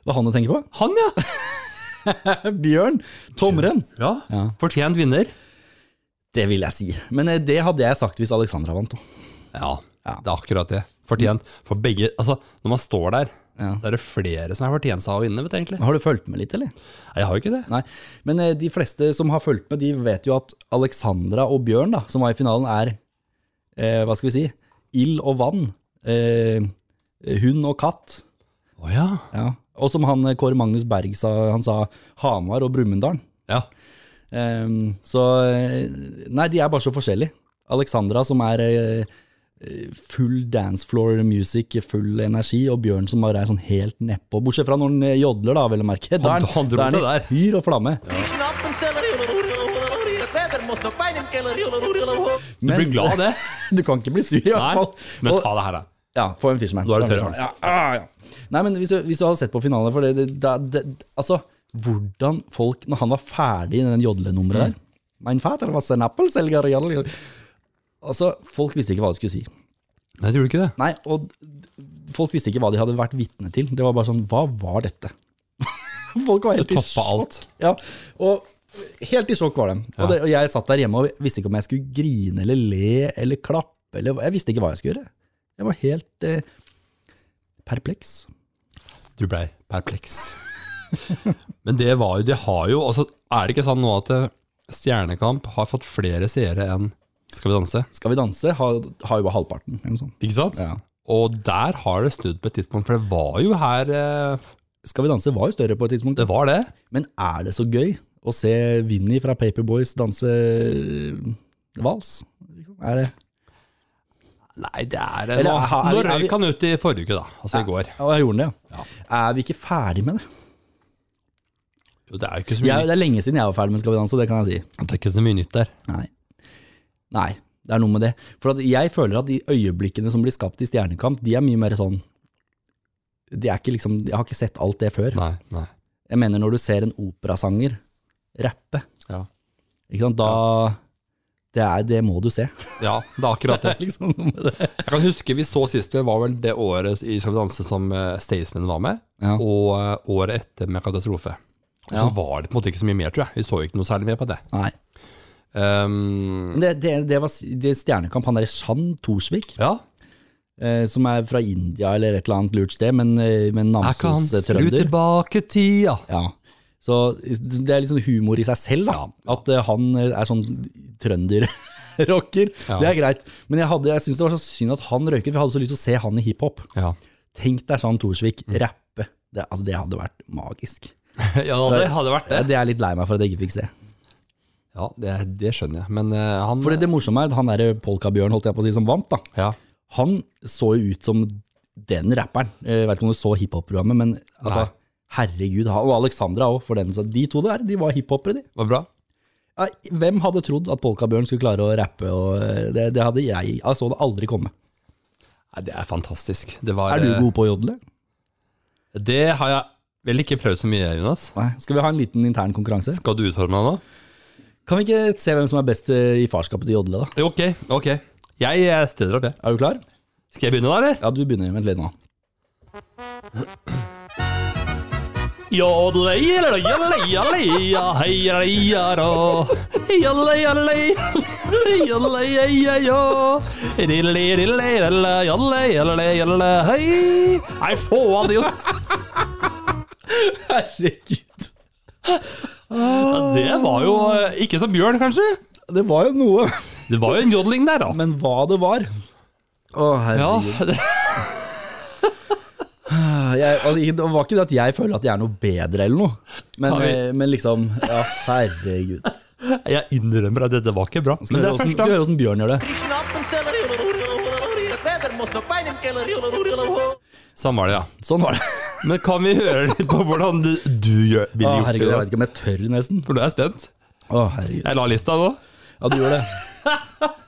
[SPEAKER 2] Hva han du tenker på?
[SPEAKER 1] han, ja.
[SPEAKER 2] *laughs* Bjørn Tomren.
[SPEAKER 1] ja.
[SPEAKER 2] Ja.
[SPEAKER 1] Fortjent vinner.
[SPEAKER 2] Det vil jeg si. Men eh, det hadde jeg sagt hvis Alexandra vant. da.
[SPEAKER 1] Ja,
[SPEAKER 2] Ja.
[SPEAKER 1] det er akkurat det. Fortjent. For begge Altså, når man står der,
[SPEAKER 2] Ja.
[SPEAKER 1] da er det flere som er fortjent seg å vinne, vet du egentlig.
[SPEAKER 2] Har du fulgt med litt, eller?
[SPEAKER 1] Nei, jeg har jo ikke det.
[SPEAKER 2] Nei. Men eh, de fleste som har fulgt med, de vet jo at Alexandra og Bjørn, da, som var i finalen, er eh, Hva skal vi si? Ild og vann. Eh, hund og katt.
[SPEAKER 1] Å ja.
[SPEAKER 2] Ja. Og som han eh, Kåre Magnus Berg sa, han sa Hamar og Brumunddal.
[SPEAKER 1] ja.
[SPEAKER 2] Ehm, så eh, Nei, de er bare så forskjellige. Alexandra som er eh, eh, full dancefloor music, full energi, og Bjørn som bare er sånn helt nedpå. Bortsett fra når han eh, jodler, da, vel å merke. Da er
[SPEAKER 1] han dro
[SPEAKER 2] da er
[SPEAKER 1] det
[SPEAKER 2] i
[SPEAKER 1] der.
[SPEAKER 2] Fyr og flamme.
[SPEAKER 4] Listen up and sell it. The feather must not find him. Kill it.
[SPEAKER 1] Du blir glad av det.
[SPEAKER 2] *laughs*
[SPEAKER 1] *laughs*
[SPEAKER 2] Du kan ikke bli sur, i hvert
[SPEAKER 1] Nei,
[SPEAKER 2] fall.
[SPEAKER 1] men
[SPEAKER 2] Og-
[SPEAKER 1] ta det her, da.
[SPEAKER 2] Ja, få en fish man.
[SPEAKER 1] Da er det tørre hans.
[SPEAKER 2] Ja, ah, ja. Nei, men hvis du, hvis du hadde sett på finalen for det, det, da- det, Altså, hvordan folk Når han var ferdig i den jodlenummeret der Mein Vater was an apple selger jodel- jodel. Altså, folk visste ikke hva de skulle si.
[SPEAKER 1] Nei, det gjorde ikke det.
[SPEAKER 2] Nei, og d- folk visste ikke hva de hadde vært vitne til. Det var bare sånn, hva var dette? *laughs* folk var helt
[SPEAKER 1] Det
[SPEAKER 2] i
[SPEAKER 1] toppa
[SPEAKER 2] sjokk.
[SPEAKER 1] alt.
[SPEAKER 2] Ja, og helt i sjokk var de.
[SPEAKER 1] Ja.
[SPEAKER 2] Og, det, og jeg satt der hjemme og visste ikke om jeg skulle grine eller le eller klappe. Eller, hva- jeg visste ikke hva jeg skulle gjøre. Jeg var helt eh, perpleks.
[SPEAKER 1] Du blei perpleks. Men det var jo De har jo altså, Er det ikke sånn nå at eh, Stjernekamp har fått flere seere enn Skal vi danse?
[SPEAKER 2] Skal vi danse? Har, har jo bare halvparten. Eller noe sånt.
[SPEAKER 1] Ikke sant?
[SPEAKER 2] Ja.
[SPEAKER 1] Og der har det snudd på et tidspunkt, for det var jo her eh,
[SPEAKER 2] Skal vi danse var jo større på et tidspunkt.
[SPEAKER 1] Det var det.
[SPEAKER 2] Men er det så gøy å se Vinni fra Paperboys danse eh, vals? Liksom, Er det
[SPEAKER 1] Nei, det er eh,
[SPEAKER 2] Eller,
[SPEAKER 1] Nå,
[SPEAKER 2] ha- er
[SPEAKER 1] nå
[SPEAKER 2] vi- er vi-
[SPEAKER 1] røyk han ut i forrige uke, da. Altså i går.
[SPEAKER 2] Ja, jeg gjorde den det,
[SPEAKER 1] Ja.
[SPEAKER 2] ja. Er vi ikke ferdig med det?
[SPEAKER 1] Jo, det er jo ikke så mye
[SPEAKER 2] Jeg, det er lenge siden jeg var ferdig med Skal vi danse, det kan jeg si.
[SPEAKER 1] nytt. Det er ikke så mye nytt der.
[SPEAKER 2] Nei. Nei, det er noe med det. For at jeg føler at de øyeblikkene som blir skapt i Stjernekamp, de er mye mer sånn de er ikke liksom, Jeg har ikke sett alt det før.
[SPEAKER 1] Nei, nei.
[SPEAKER 2] Jeg mener når du ser en operasanger rappe,
[SPEAKER 1] Ja.
[SPEAKER 2] ikke sant, da det, er, det må du se. *laughs*
[SPEAKER 1] ja, det er akkurat det.
[SPEAKER 2] Det er liksom noe med det.
[SPEAKER 1] Jeg kan huske vi så sist, det var vel det året i Skal vi danse som eh, Staysman var med,
[SPEAKER 2] Ja.
[SPEAKER 1] og eh, året etter med Katastrofe. Og så
[SPEAKER 2] Ja.
[SPEAKER 1] var det på en måte ikke så mye mer, tror jeg. Vi så ikke noe særlig mer på det.
[SPEAKER 2] Nei.
[SPEAKER 1] Ehm,
[SPEAKER 2] Men det, det, det var s- det Stjernekamp. Han derre Shan Torsvik,
[SPEAKER 1] ja,
[SPEAKER 2] eh, som er fra India eller et eller annet lurt sted, men, eh, men
[SPEAKER 1] jeg kan skru
[SPEAKER 2] Namsos-trønder.
[SPEAKER 1] tilbake tida.
[SPEAKER 2] Ja. Så det er litt sånn humor i seg selv, da. At eh, han eh, er sånn trønder-rocker.
[SPEAKER 1] Ja.
[SPEAKER 2] Det er greit. Men jeg, hadde- jeg syns det var så synd at han røyket, for jeg hadde så lyst til å se han i hiphop.
[SPEAKER 1] Ja.
[SPEAKER 2] Tenk deg Shan Torsvik
[SPEAKER 1] Mm.
[SPEAKER 2] rappe. Det, altså, det hadde vært magisk.
[SPEAKER 1] *laughs* ja, det hadde vært det.
[SPEAKER 2] Det er jeg litt lei meg for at jeg ikke fikk se.
[SPEAKER 1] Ja, det, det skjønner jeg. Men eh, han
[SPEAKER 2] For det, det morsomme er at han derre Polkabjørn, holdt jeg på å si, som vant, da.
[SPEAKER 1] ja.
[SPEAKER 2] Han så jo ut som den rapperen. Eh, Jeg vet ikke om du så hiphop-programmet, men altså,
[SPEAKER 1] Nei.
[SPEAKER 2] herregud. han- Og Alexandra òg, for den. Så de to der, de var hiphopere, de.
[SPEAKER 1] Var det bra?
[SPEAKER 2] Ja, Hvem hadde trodd at Polkabjørn skulle klare å rappe? Og eh, det, det hadde jeg, jeg så det aldri komme.
[SPEAKER 1] Nei, det er fantastisk. Det var
[SPEAKER 2] Er du
[SPEAKER 1] eh,
[SPEAKER 2] god på å jodle?
[SPEAKER 1] Det har jeg vel ikke prøvd så mye, Jonas.
[SPEAKER 2] Nei. Skal vi ha en liten intern konkurranse?
[SPEAKER 1] Skal du utfordre meg nå?
[SPEAKER 2] Kan vi ikke se hvem som er best eh, i farskapet til jodle, da?
[SPEAKER 1] Jo, Ok, ok. Jeg eh, stiller opp, jeg.
[SPEAKER 2] Er du klar?
[SPEAKER 1] Skal jeg begynne da, eller?
[SPEAKER 2] Ja, du begynner. Vent litt nå.
[SPEAKER 1] Jodle, jodle, jodle, jodle, ja, hei, jodle, jodle. Jodle, jodle, jodle, jodle, ja, ja, ja. Dille, dille, dille, jodle, jodle, jodle, hei. Nei, få av det, Jonas.
[SPEAKER 2] *laughs* Herregud.
[SPEAKER 1] Ja, Det var jo eh, ikke som bjørn, kanskje?
[SPEAKER 2] Det var jo noe,
[SPEAKER 1] Det var jo en jodling der, da.
[SPEAKER 2] men hva det var Å,
[SPEAKER 1] Ja,
[SPEAKER 2] herregud.
[SPEAKER 1] det,
[SPEAKER 2] Jeg, og det- det var ikke det at jeg føler at jeg er noe bedre eller noe, men,
[SPEAKER 1] Kan vi-
[SPEAKER 2] eh, men liksom Ja, herregud.
[SPEAKER 1] *laughs* jeg innrømmer at dette var ikke bra. Men
[SPEAKER 2] Skal
[SPEAKER 1] det
[SPEAKER 2] vi høre
[SPEAKER 1] er
[SPEAKER 2] hvordan-
[SPEAKER 1] første
[SPEAKER 2] skal vi høre åssen Bjørn gjør det.
[SPEAKER 4] Krishnappen seller Peder må snakke beinem keller
[SPEAKER 1] Sånn var det, ja.
[SPEAKER 2] Sånn var det.
[SPEAKER 1] Men kan vi høre litt på hvordan du, du gjør, ville
[SPEAKER 2] Å,
[SPEAKER 1] gjort det?
[SPEAKER 2] herregud, jeg vet
[SPEAKER 1] Jonas?
[SPEAKER 2] ikke om jeg tør, nesten.
[SPEAKER 1] For nå er jeg spent.
[SPEAKER 2] Å, herregud.
[SPEAKER 1] Jeg la lista nå.
[SPEAKER 2] Ja, du gjør det.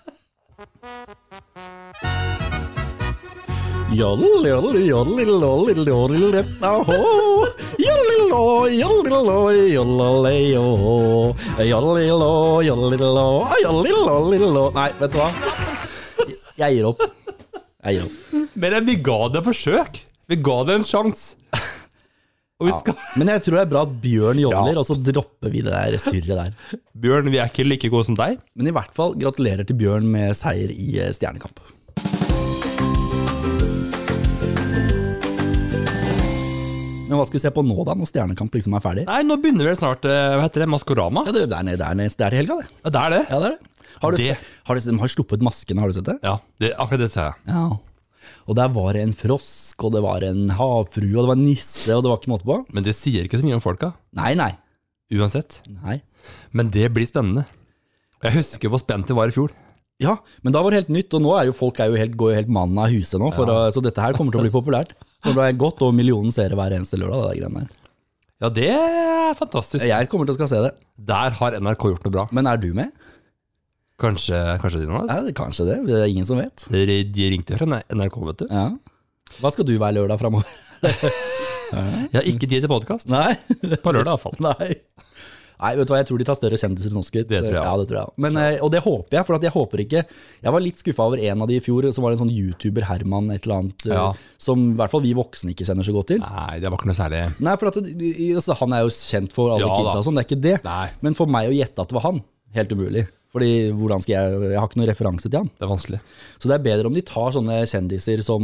[SPEAKER 2] Jodel, jodel, jodel, jodel, jodel, rett av hå. Jodel, lå, jodel, lå, jodel, jå. Jodel, lå, jodel, lå, jodel, jodel, lå. Nei, vet du hva? Jeg gir opp. Jeg gir opp.
[SPEAKER 1] Men vi ga det et forsøk. Vi ga det en sjanse. Og vi skal
[SPEAKER 2] Men jeg tror det er bra at Bjørn jodler,
[SPEAKER 1] Ja.
[SPEAKER 2] og så dropper vi det der surret der.
[SPEAKER 1] Bjørn, vi er ikke like gode som deg.
[SPEAKER 2] Men i hvert fall, gratulerer til Bjørn med seier i eh, Stjernekamp. Men hva skal vi se på nå, da, når Stjernekamp liksom er ferdig?
[SPEAKER 1] Nei, nå begynner vel snart eh, Hva heter det? Maskorama?
[SPEAKER 2] Ja, det er der nede, der nede, det er til helga, det.
[SPEAKER 1] Ja, det er det.
[SPEAKER 2] Ja, det er det. Har du,
[SPEAKER 1] Det-
[SPEAKER 2] se- Har du, se- de har sluppet maskene, har du sett det?
[SPEAKER 1] Ja, det, akkurat det sa jeg.
[SPEAKER 2] Ja. Og der var det en frosk, og det var en havfrue, og det var en nisse, og det var ikke måte på.
[SPEAKER 1] Men det sier ikke så mye om folka.
[SPEAKER 2] Nei, nei.
[SPEAKER 1] Uansett.
[SPEAKER 2] nei.
[SPEAKER 1] Men det blir spennende. Jeg husker hvor spent det var i fjor.
[SPEAKER 2] Ja, men da var det helt nytt, og nå er jo folk er jo helt, går jo helt mannen av huset nå, for, å- så dette her kommer til å bli populært. Nå blir det godt over millionen seere hver eneste lørdag, det der greiene der.
[SPEAKER 1] Ja, det er fantastisk.
[SPEAKER 2] Jeg kommer til å skal se det.
[SPEAKER 1] Der har NRK gjort noe bra.
[SPEAKER 2] Men er du med?
[SPEAKER 1] Kanskje, kanskje de, Jonas?
[SPEAKER 2] Ja, det- kanskje det. Det er ingen som vet.
[SPEAKER 1] De de ringte fra NRK, vet du.
[SPEAKER 2] Ja. Hva skal du være lørdag
[SPEAKER 1] *laughs*
[SPEAKER 2] framover?
[SPEAKER 1] Jeg har ikke tid til podkast.
[SPEAKER 2] Nei.
[SPEAKER 1] På lørdag, iallfall.
[SPEAKER 2] *laughs* Nei. Nei, vet du hva, jeg tror de tar større kjendiser enn Oscar.
[SPEAKER 1] Det tror jeg.
[SPEAKER 2] Ja, det tror jeg. også. Men, eh, og det håper jeg, for at jeg håper ikke Jeg var litt skuffa over en av de i fjor, som var det en sånn YouTuber, Herman et eller annet, eh,
[SPEAKER 1] Ja.
[SPEAKER 2] som i hvert fall vi voksne ikke kjenner så godt til.
[SPEAKER 1] Nei, det var ikke noe særlig.
[SPEAKER 2] Nei, for at, det- altså, han er jo kjent for alle
[SPEAKER 1] Ja, da.
[SPEAKER 2] kidsa og sånn, det er ikke det.
[SPEAKER 1] Nei.
[SPEAKER 2] Men for meg å gjette at det var han, helt umulig. Fordi hvordan skal jeg, jeg har ikke noen referanse til han.
[SPEAKER 1] Det er vanskelig.
[SPEAKER 2] Så det er bedre om de tar sånne kjendiser som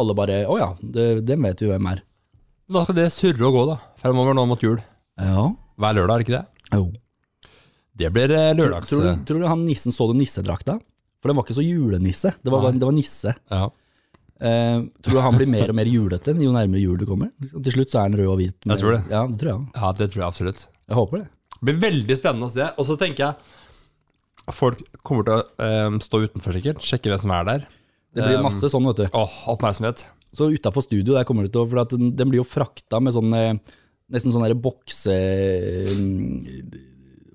[SPEAKER 2] alle bare Å ja, det, dem vet vi hvem er.
[SPEAKER 1] Da skal det surre og gå, da. Fremover nå mot jul.
[SPEAKER 2] Ja.
[SPEAKER 1] Hver lørdag, er det ikke det?
[SPEAKER 2] Jo.
[SPEAKER 1] Det blir eh, lørdags...
[SPEAKER 2] Tror, du, tror du han nissen så den nissedrakta? For den var ikke så julenisse, det var,
[SPEAKER 1] Nei.
[SPEAKER 2] det var nisse.
[SPEAKER 1] Ja.
[SPEAKER 2] Eh, tror du han blir mer og mer julete jo nærmere jul du kommer? Liksom, Til slutt så er han rød og hvit. med-
[SPEAKER 1] Jeg tror det.
[SPEAKER 2] Ja, det tror jeg. også.
[SPEAKER 1] ja, det tror jeg absolutt.
[SPEAKER 2] Jeg håper det.
[SPEAKER 1] Det blir veldig spennende å se. Og så tenker jeg at folk kommer til å eh, stå utenfor, sikkert. Sjekke hvem som er der.
[SPEAKER 2] Det blir
[SPEAKER 1] Um,
[SPEAKER 2] masse sånn, vet du.
[SPEAKER 1] Åh, oppmerksomhet.
[SPEAKER 2] Så utafor studio der kommer det til å For at den, den blir jo frakta med sånn eh, Nesten sånn der bokse... mm,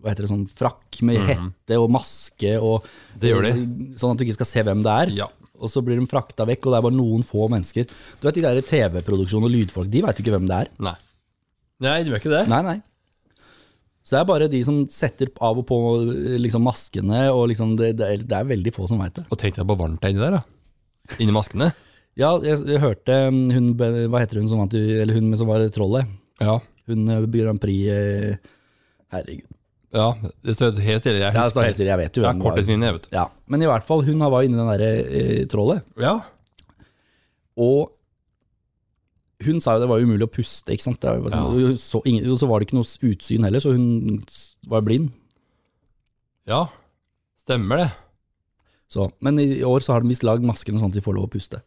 [SPEAKER 2] Hva heter det, sånn frakk med hette og maske og
[SPEAKER 1] Mm. Det gjør de.
[SPEAKER 2] Sånn at du ikke skal se hvem det er.
[SPEAKER 1] Ja.
[SPEAKER 2] Og så blir de frakta vekk, og det er bare noen få mennesker. Du vet de der TV-produksjon og lydfolk, de veit jo ikke hvem det er.
[SPEAKER 1] Nei. Nei, det gjør ikke det.
[SPEAKER 2] Nei, nei. Så det er bare de som setter av og på liksom, maskene, og liksom, det, det, er, det er veldig få som veit det.
[SPEAKER 1] Og tenk deg på varmt inni der, da. Inni maskene.
[SPEAKER 2] Ja, jeg, jeg hørte mm, hun be- Hva heter hun som, vant i- eller hun som var trollet?
[SPEAKER 1] Ja.
[SPEAKER 2] Hun eh, Grand Prix eh, Herregud.
[SPEAKER 1] ja. Det står helt stille. Jeg
[SPEAKER 2] Jeg står helt stille, jeg vet jo
[SPEAKER 1] Jeg
[SPEAKER 2] hvem
[SPEAKER 1] har
[SPEAKER 2] det var.
[SPEAKER 1] korttidsminne, jeg, vet du.
[SPEAKER 2] Ja, men i hvert fall, hun var inne i den derre eh, trollet,
[SPEAKER 1] Ja.
[SPEAKER 2] og hun sa jo det var umulig å puste, ikke sant. Det var jo bare sånn,
[SPEAKER 1] Ja.
[SPEAKER 2] og hun så, ingen, og så var det ikke noe utsyn heller, så hun s- var blind.
[SPEAKER 1] Ja. Stemmer det.
[SPEAKER 2] Så. Men i år så har de visst lagd maskene sånn at de får lov å puste.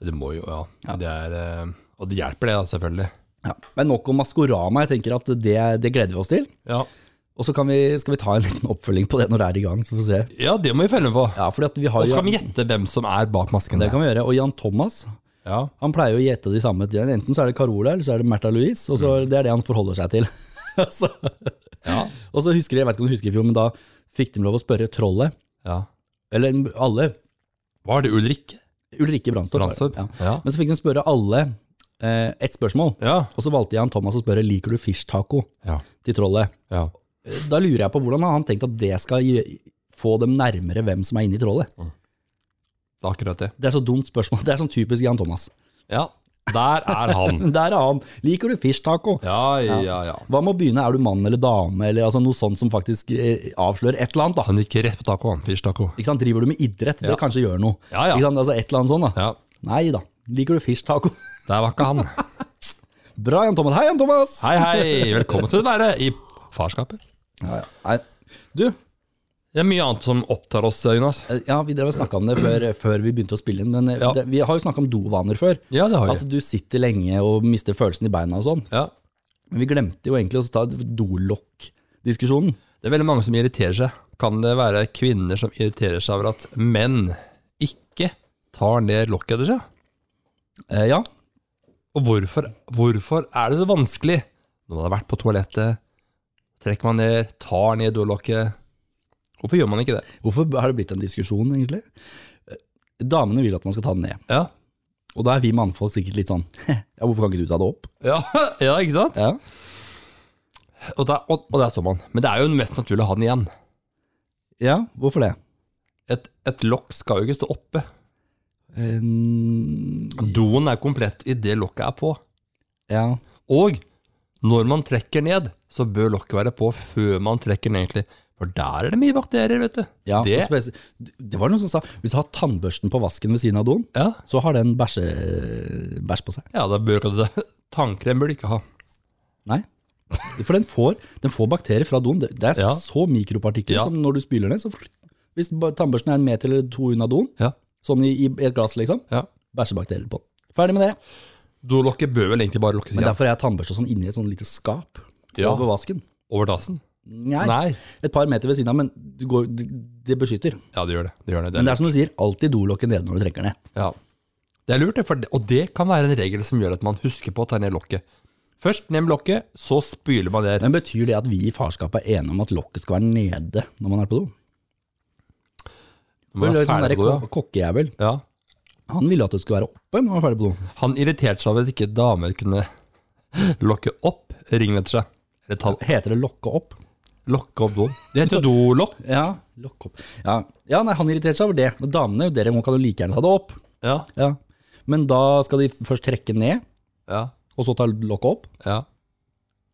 [SPEAKER 1] Det må jo, ja. Det er, eh, og det hjelper det, da, selvfølgelig.
[SPEAKER 2] Ja. Men nok om Maskorama, jeg tenker at det, det gleder vi oss til.
[SPEAKER 1] Ja.
[SPEAKER 2] Og så kan vi, skal vi ta en liten oppfølging på det når det er i gang, så får vi se.
[SPEAKER 1] ja, det må vi følge med på.
[SPEAKER 2] Ja, fordi at vi har
[SPEAKER 1] Og så
[SPEAKER 2] jo...
[SPEAKER 1] kan vi gjette hvem som er bak masken.
[SPEAKER 2] Det
[SPEAKER 1] der.
[SPEAKER 2] kan vi gjøre. Og Jan Thomas,
[SPEAKER 1] Ja.
[SPEAKER 2] Han pleier jo å gjete de samme til. Enten så er det Carola, eller så er det Märtha Louise. Og så Det er det han forholder seg til. *laughs* så,
[SPEAKER 1] Mm. Ja.
[SPEAKER 2] og så husker jeg, jeg vet ikke om du husker i fjor, men da fikk de lov å spørre trollet,
[SPEAKER 1] ja.
[SPEAKER 2] eller alle,
[SPEAKER 1] Var det Ulrikke?
[SPEAKER 2] Ulrikke Brandstorp.
[SPEAKER 1] Brandstorp?
[SPEAKER 2] Ja.
[SPEAKER 1] Ja.
[SPEAKER 2] Men så fikk de spørre alle eh, ett spørsmål.
[SPEAKER 1] Ja.
[SPEAKER 2] Og så valgte Jan Thomas å spørre liker du fish taco
[SPEAKER 1] Ja.
[SPEAKER 2] til trollet.
[SPEAKER 1] ja.
[SPEAKER 2] Da lurer jeg på hvordan har han tenkt at det skal gi, få dem nærmere hvem som er inne i trollet.
[SPEAKER 1] Det er akkurat det.
[SPEAKER 2] Det er så dumt spørsmål. *laughs* Det er sånn typisk Jan Thomas.
[SPEAKER 1] Ja. Der er han.
[SPEAKER 2] Der er han. Liker du fish taco?
[SPEAKER 1] *laughs* Ja, ja, ja.
[SPEAKER 2] Hva med å begynne, er du mann eller dame, eller altså noe sånt som faktisk eh, avslører et eller annet, da.
[SPEAKER 1] Han gikk rett på taco, han. Fish taco.
[SPEAKER 2] Ikke sant? Driver du med idrett, det
[SPEAKER 1] Ja.
[SPEAKER 2] kanskje gjør noe.
[SPEAKER 1] Ja, ja.
[SPEAKER 2] Ikke sant? Altså et eller annet sånt, da.
[SPEAKER 1] Ja.
[SPEAKER 2] Nei da. Liker du fish taco? *laughs*
[SPEAKER 1] Der var ikke han.
[SPEAKER 2] Bra, Jan Thomas. Hei, Jan Thomas!
[SPEAKER 1] Hei, hei. Velkommen til å være i farskapet.
[SPEAKER 2] Ja, ja. Nei. Du,
[SPEAKER 1] Det er mye annet som opptar oss, Jonas.
[SPEAKER 2] eh, ja, vi drev og snakka om det før, eh, før vi begynte å spille inn, men eh,
[SPEAKER 1] Ja.
[SPEAKER 2] det, vi har jo snakka om dovaner før.
[SPEAKER 1] Ja, det har
[SPEAKER 2] At
[SPEAKER 1] vi.
[SPEAKER 2] du sitter lenge og mister følelsen i beina og sånn.
[SPEAKER 1] Ja.
[SPEAKER 2] Men vi glemte jo egentlig å ta dolokk-diskusjonen.
[SPEAKER 1] Det er veldig mange som irriterer seg. Kan det være kvinner som irriterer seg over at menn ikke tar ned lokket etter seg?
[SPEAKER 2] Eh, ja.
[SPEAKER 1] Og hvorfor, hvorfor er det så vanskelig? Når man har vært på toalettet, trekker man ned, tar ned dolokket. Hvorfor gjør man ikke det?
[SPEAKER 2] Hvorfor har det blitt en diskusjon, egentlig? Eh, Damene vil at man skal ta den ned.
[SPEAKER 1] Ja,
[SPEAKER 2] Og da er vi mannfolk sikkert litt sånn *laughs* Ja, hvorfor kan ikke du ta det opp?
[SPEAKER 1] *laughs* ja, ja ikke sant?
[SPEAKER 2] Ja,
[SPEAKER 1] Og der, og, og der står man. Men det er jo mest naturlig å ha den igjen.
[SPEAKER 2] ja hvorfor det?
[SPEAKER 1] Et, et lokk skal jo ikke stå oppe.
[SPEAKER 2] Eh, Ehm,
[SPEAKER 1] Doen er komplett i det lokket er på.
[SPEAKER 2] ja.
[SPEAKER 1] Og når man trekker ned, så bør lokket være på før man trekker ned, egentlig. For der er det mye bakterier, vet du.
[SPEAKER 2] ja
[SPEAKER 1] det,
[SPEAKER 2] og spes- det var noen som sa hvis du har tannbørsten på vasken ved siden av doen,
[SPEAKER 1] ja,
[SPEAKER 2] så har den bæsje, bæsj på seg.
[SPEAKER 1] ja, da bør du *laughs* det. Tannkrem bør du ikke ha.
[SPEAKER 2] Nei. For den får, den får bakterier fra doen. Det, det er
[SPEAKER 1] Ja.
[SPEAKER 2] så mikropartikler
[SPEAKER 1] Ja.
[SPEAKER 2] som når du spyler ned, så Hvis ba- tannbørsten er en meter eller to unna doen,
[SPEAKER 1] Ja,
[SPEAKER 2] sånn i, i et glass, liksom,
[SPEAKER 1] ja.
[SPEAKER 2] bæsjebakterier på den. Ferdig med det.
[SPEAKER 1] Dolokket bør vel egentlig bare lukkes
[SPEAKER 2] Men
[SPEAKER 1] igjen.
[SPEAKER 2] derfor er tannbørsta sånn inni et sånn lite skap
[SPEAKER 1] Ja.
[SPEAKER 2] over vasken.
[SPEAKER 1] Over dassen?
[SPEAKER 2] Nei.
[SPEAKER 1] Nei.
[SPEAKER 2] Et par meter ved siden av, men du går, det, det beskytter.
[SPEAKER 1] Ja, det gjør det. Det, gjør det.
[SPEAKER 2] Men
[SPEAKER 1] det,
[SPEAKER 2] det er som du sier, alltid dolokket nede når du trekker ned.
[SPEAKER 1] er, ja. det er lurt, det, for det, og det kan være en regel som gjør at man husker på å ta ned lokket. Først ned med lokket, så spyler man ned.
[SPEAKER 2] Men betyr det at vi i farskapet er enige om at lokket skal være nede når man er på do?
[SPEAKER 1] Når man
[SPEAKER 2] Det
[SPEAKER 1] er
[SPEAKER 2] er sånn
[SPEAKER 1] ferdig
[SPEAKER 2] der
[SPEAKER 1] på do,
[SPEAKER 2] ko- kokkejævel,
[SPEAKER 1] ja.
[SPEAKER 2] han ville at det skulle være oppe når man er ferdig på do.
[SPEAKER 1] *laughs* Han irriterte seg over at ikke damer kunne lokke opp ringen etter seg. Eller ta,
[SPEAKER 2] Heter det lokke opp?
[SPEAKER 1] lokke opp doen. Det heter jo dolokk.
[SPEAKER 2] Ja, lokke opp. Ja, ja nei, han irriterte seg over det. Men damene dere må kan jo like gjerne ta det opp.
[SPEAKER 1] Ja.
[SPEAKER 2] Ja. Men da skal de først trekke ned,
[SPEAKER 1] Ja.
[SPEAKER 2] og så ta lokket opp?
[SPEAKER 1] ja.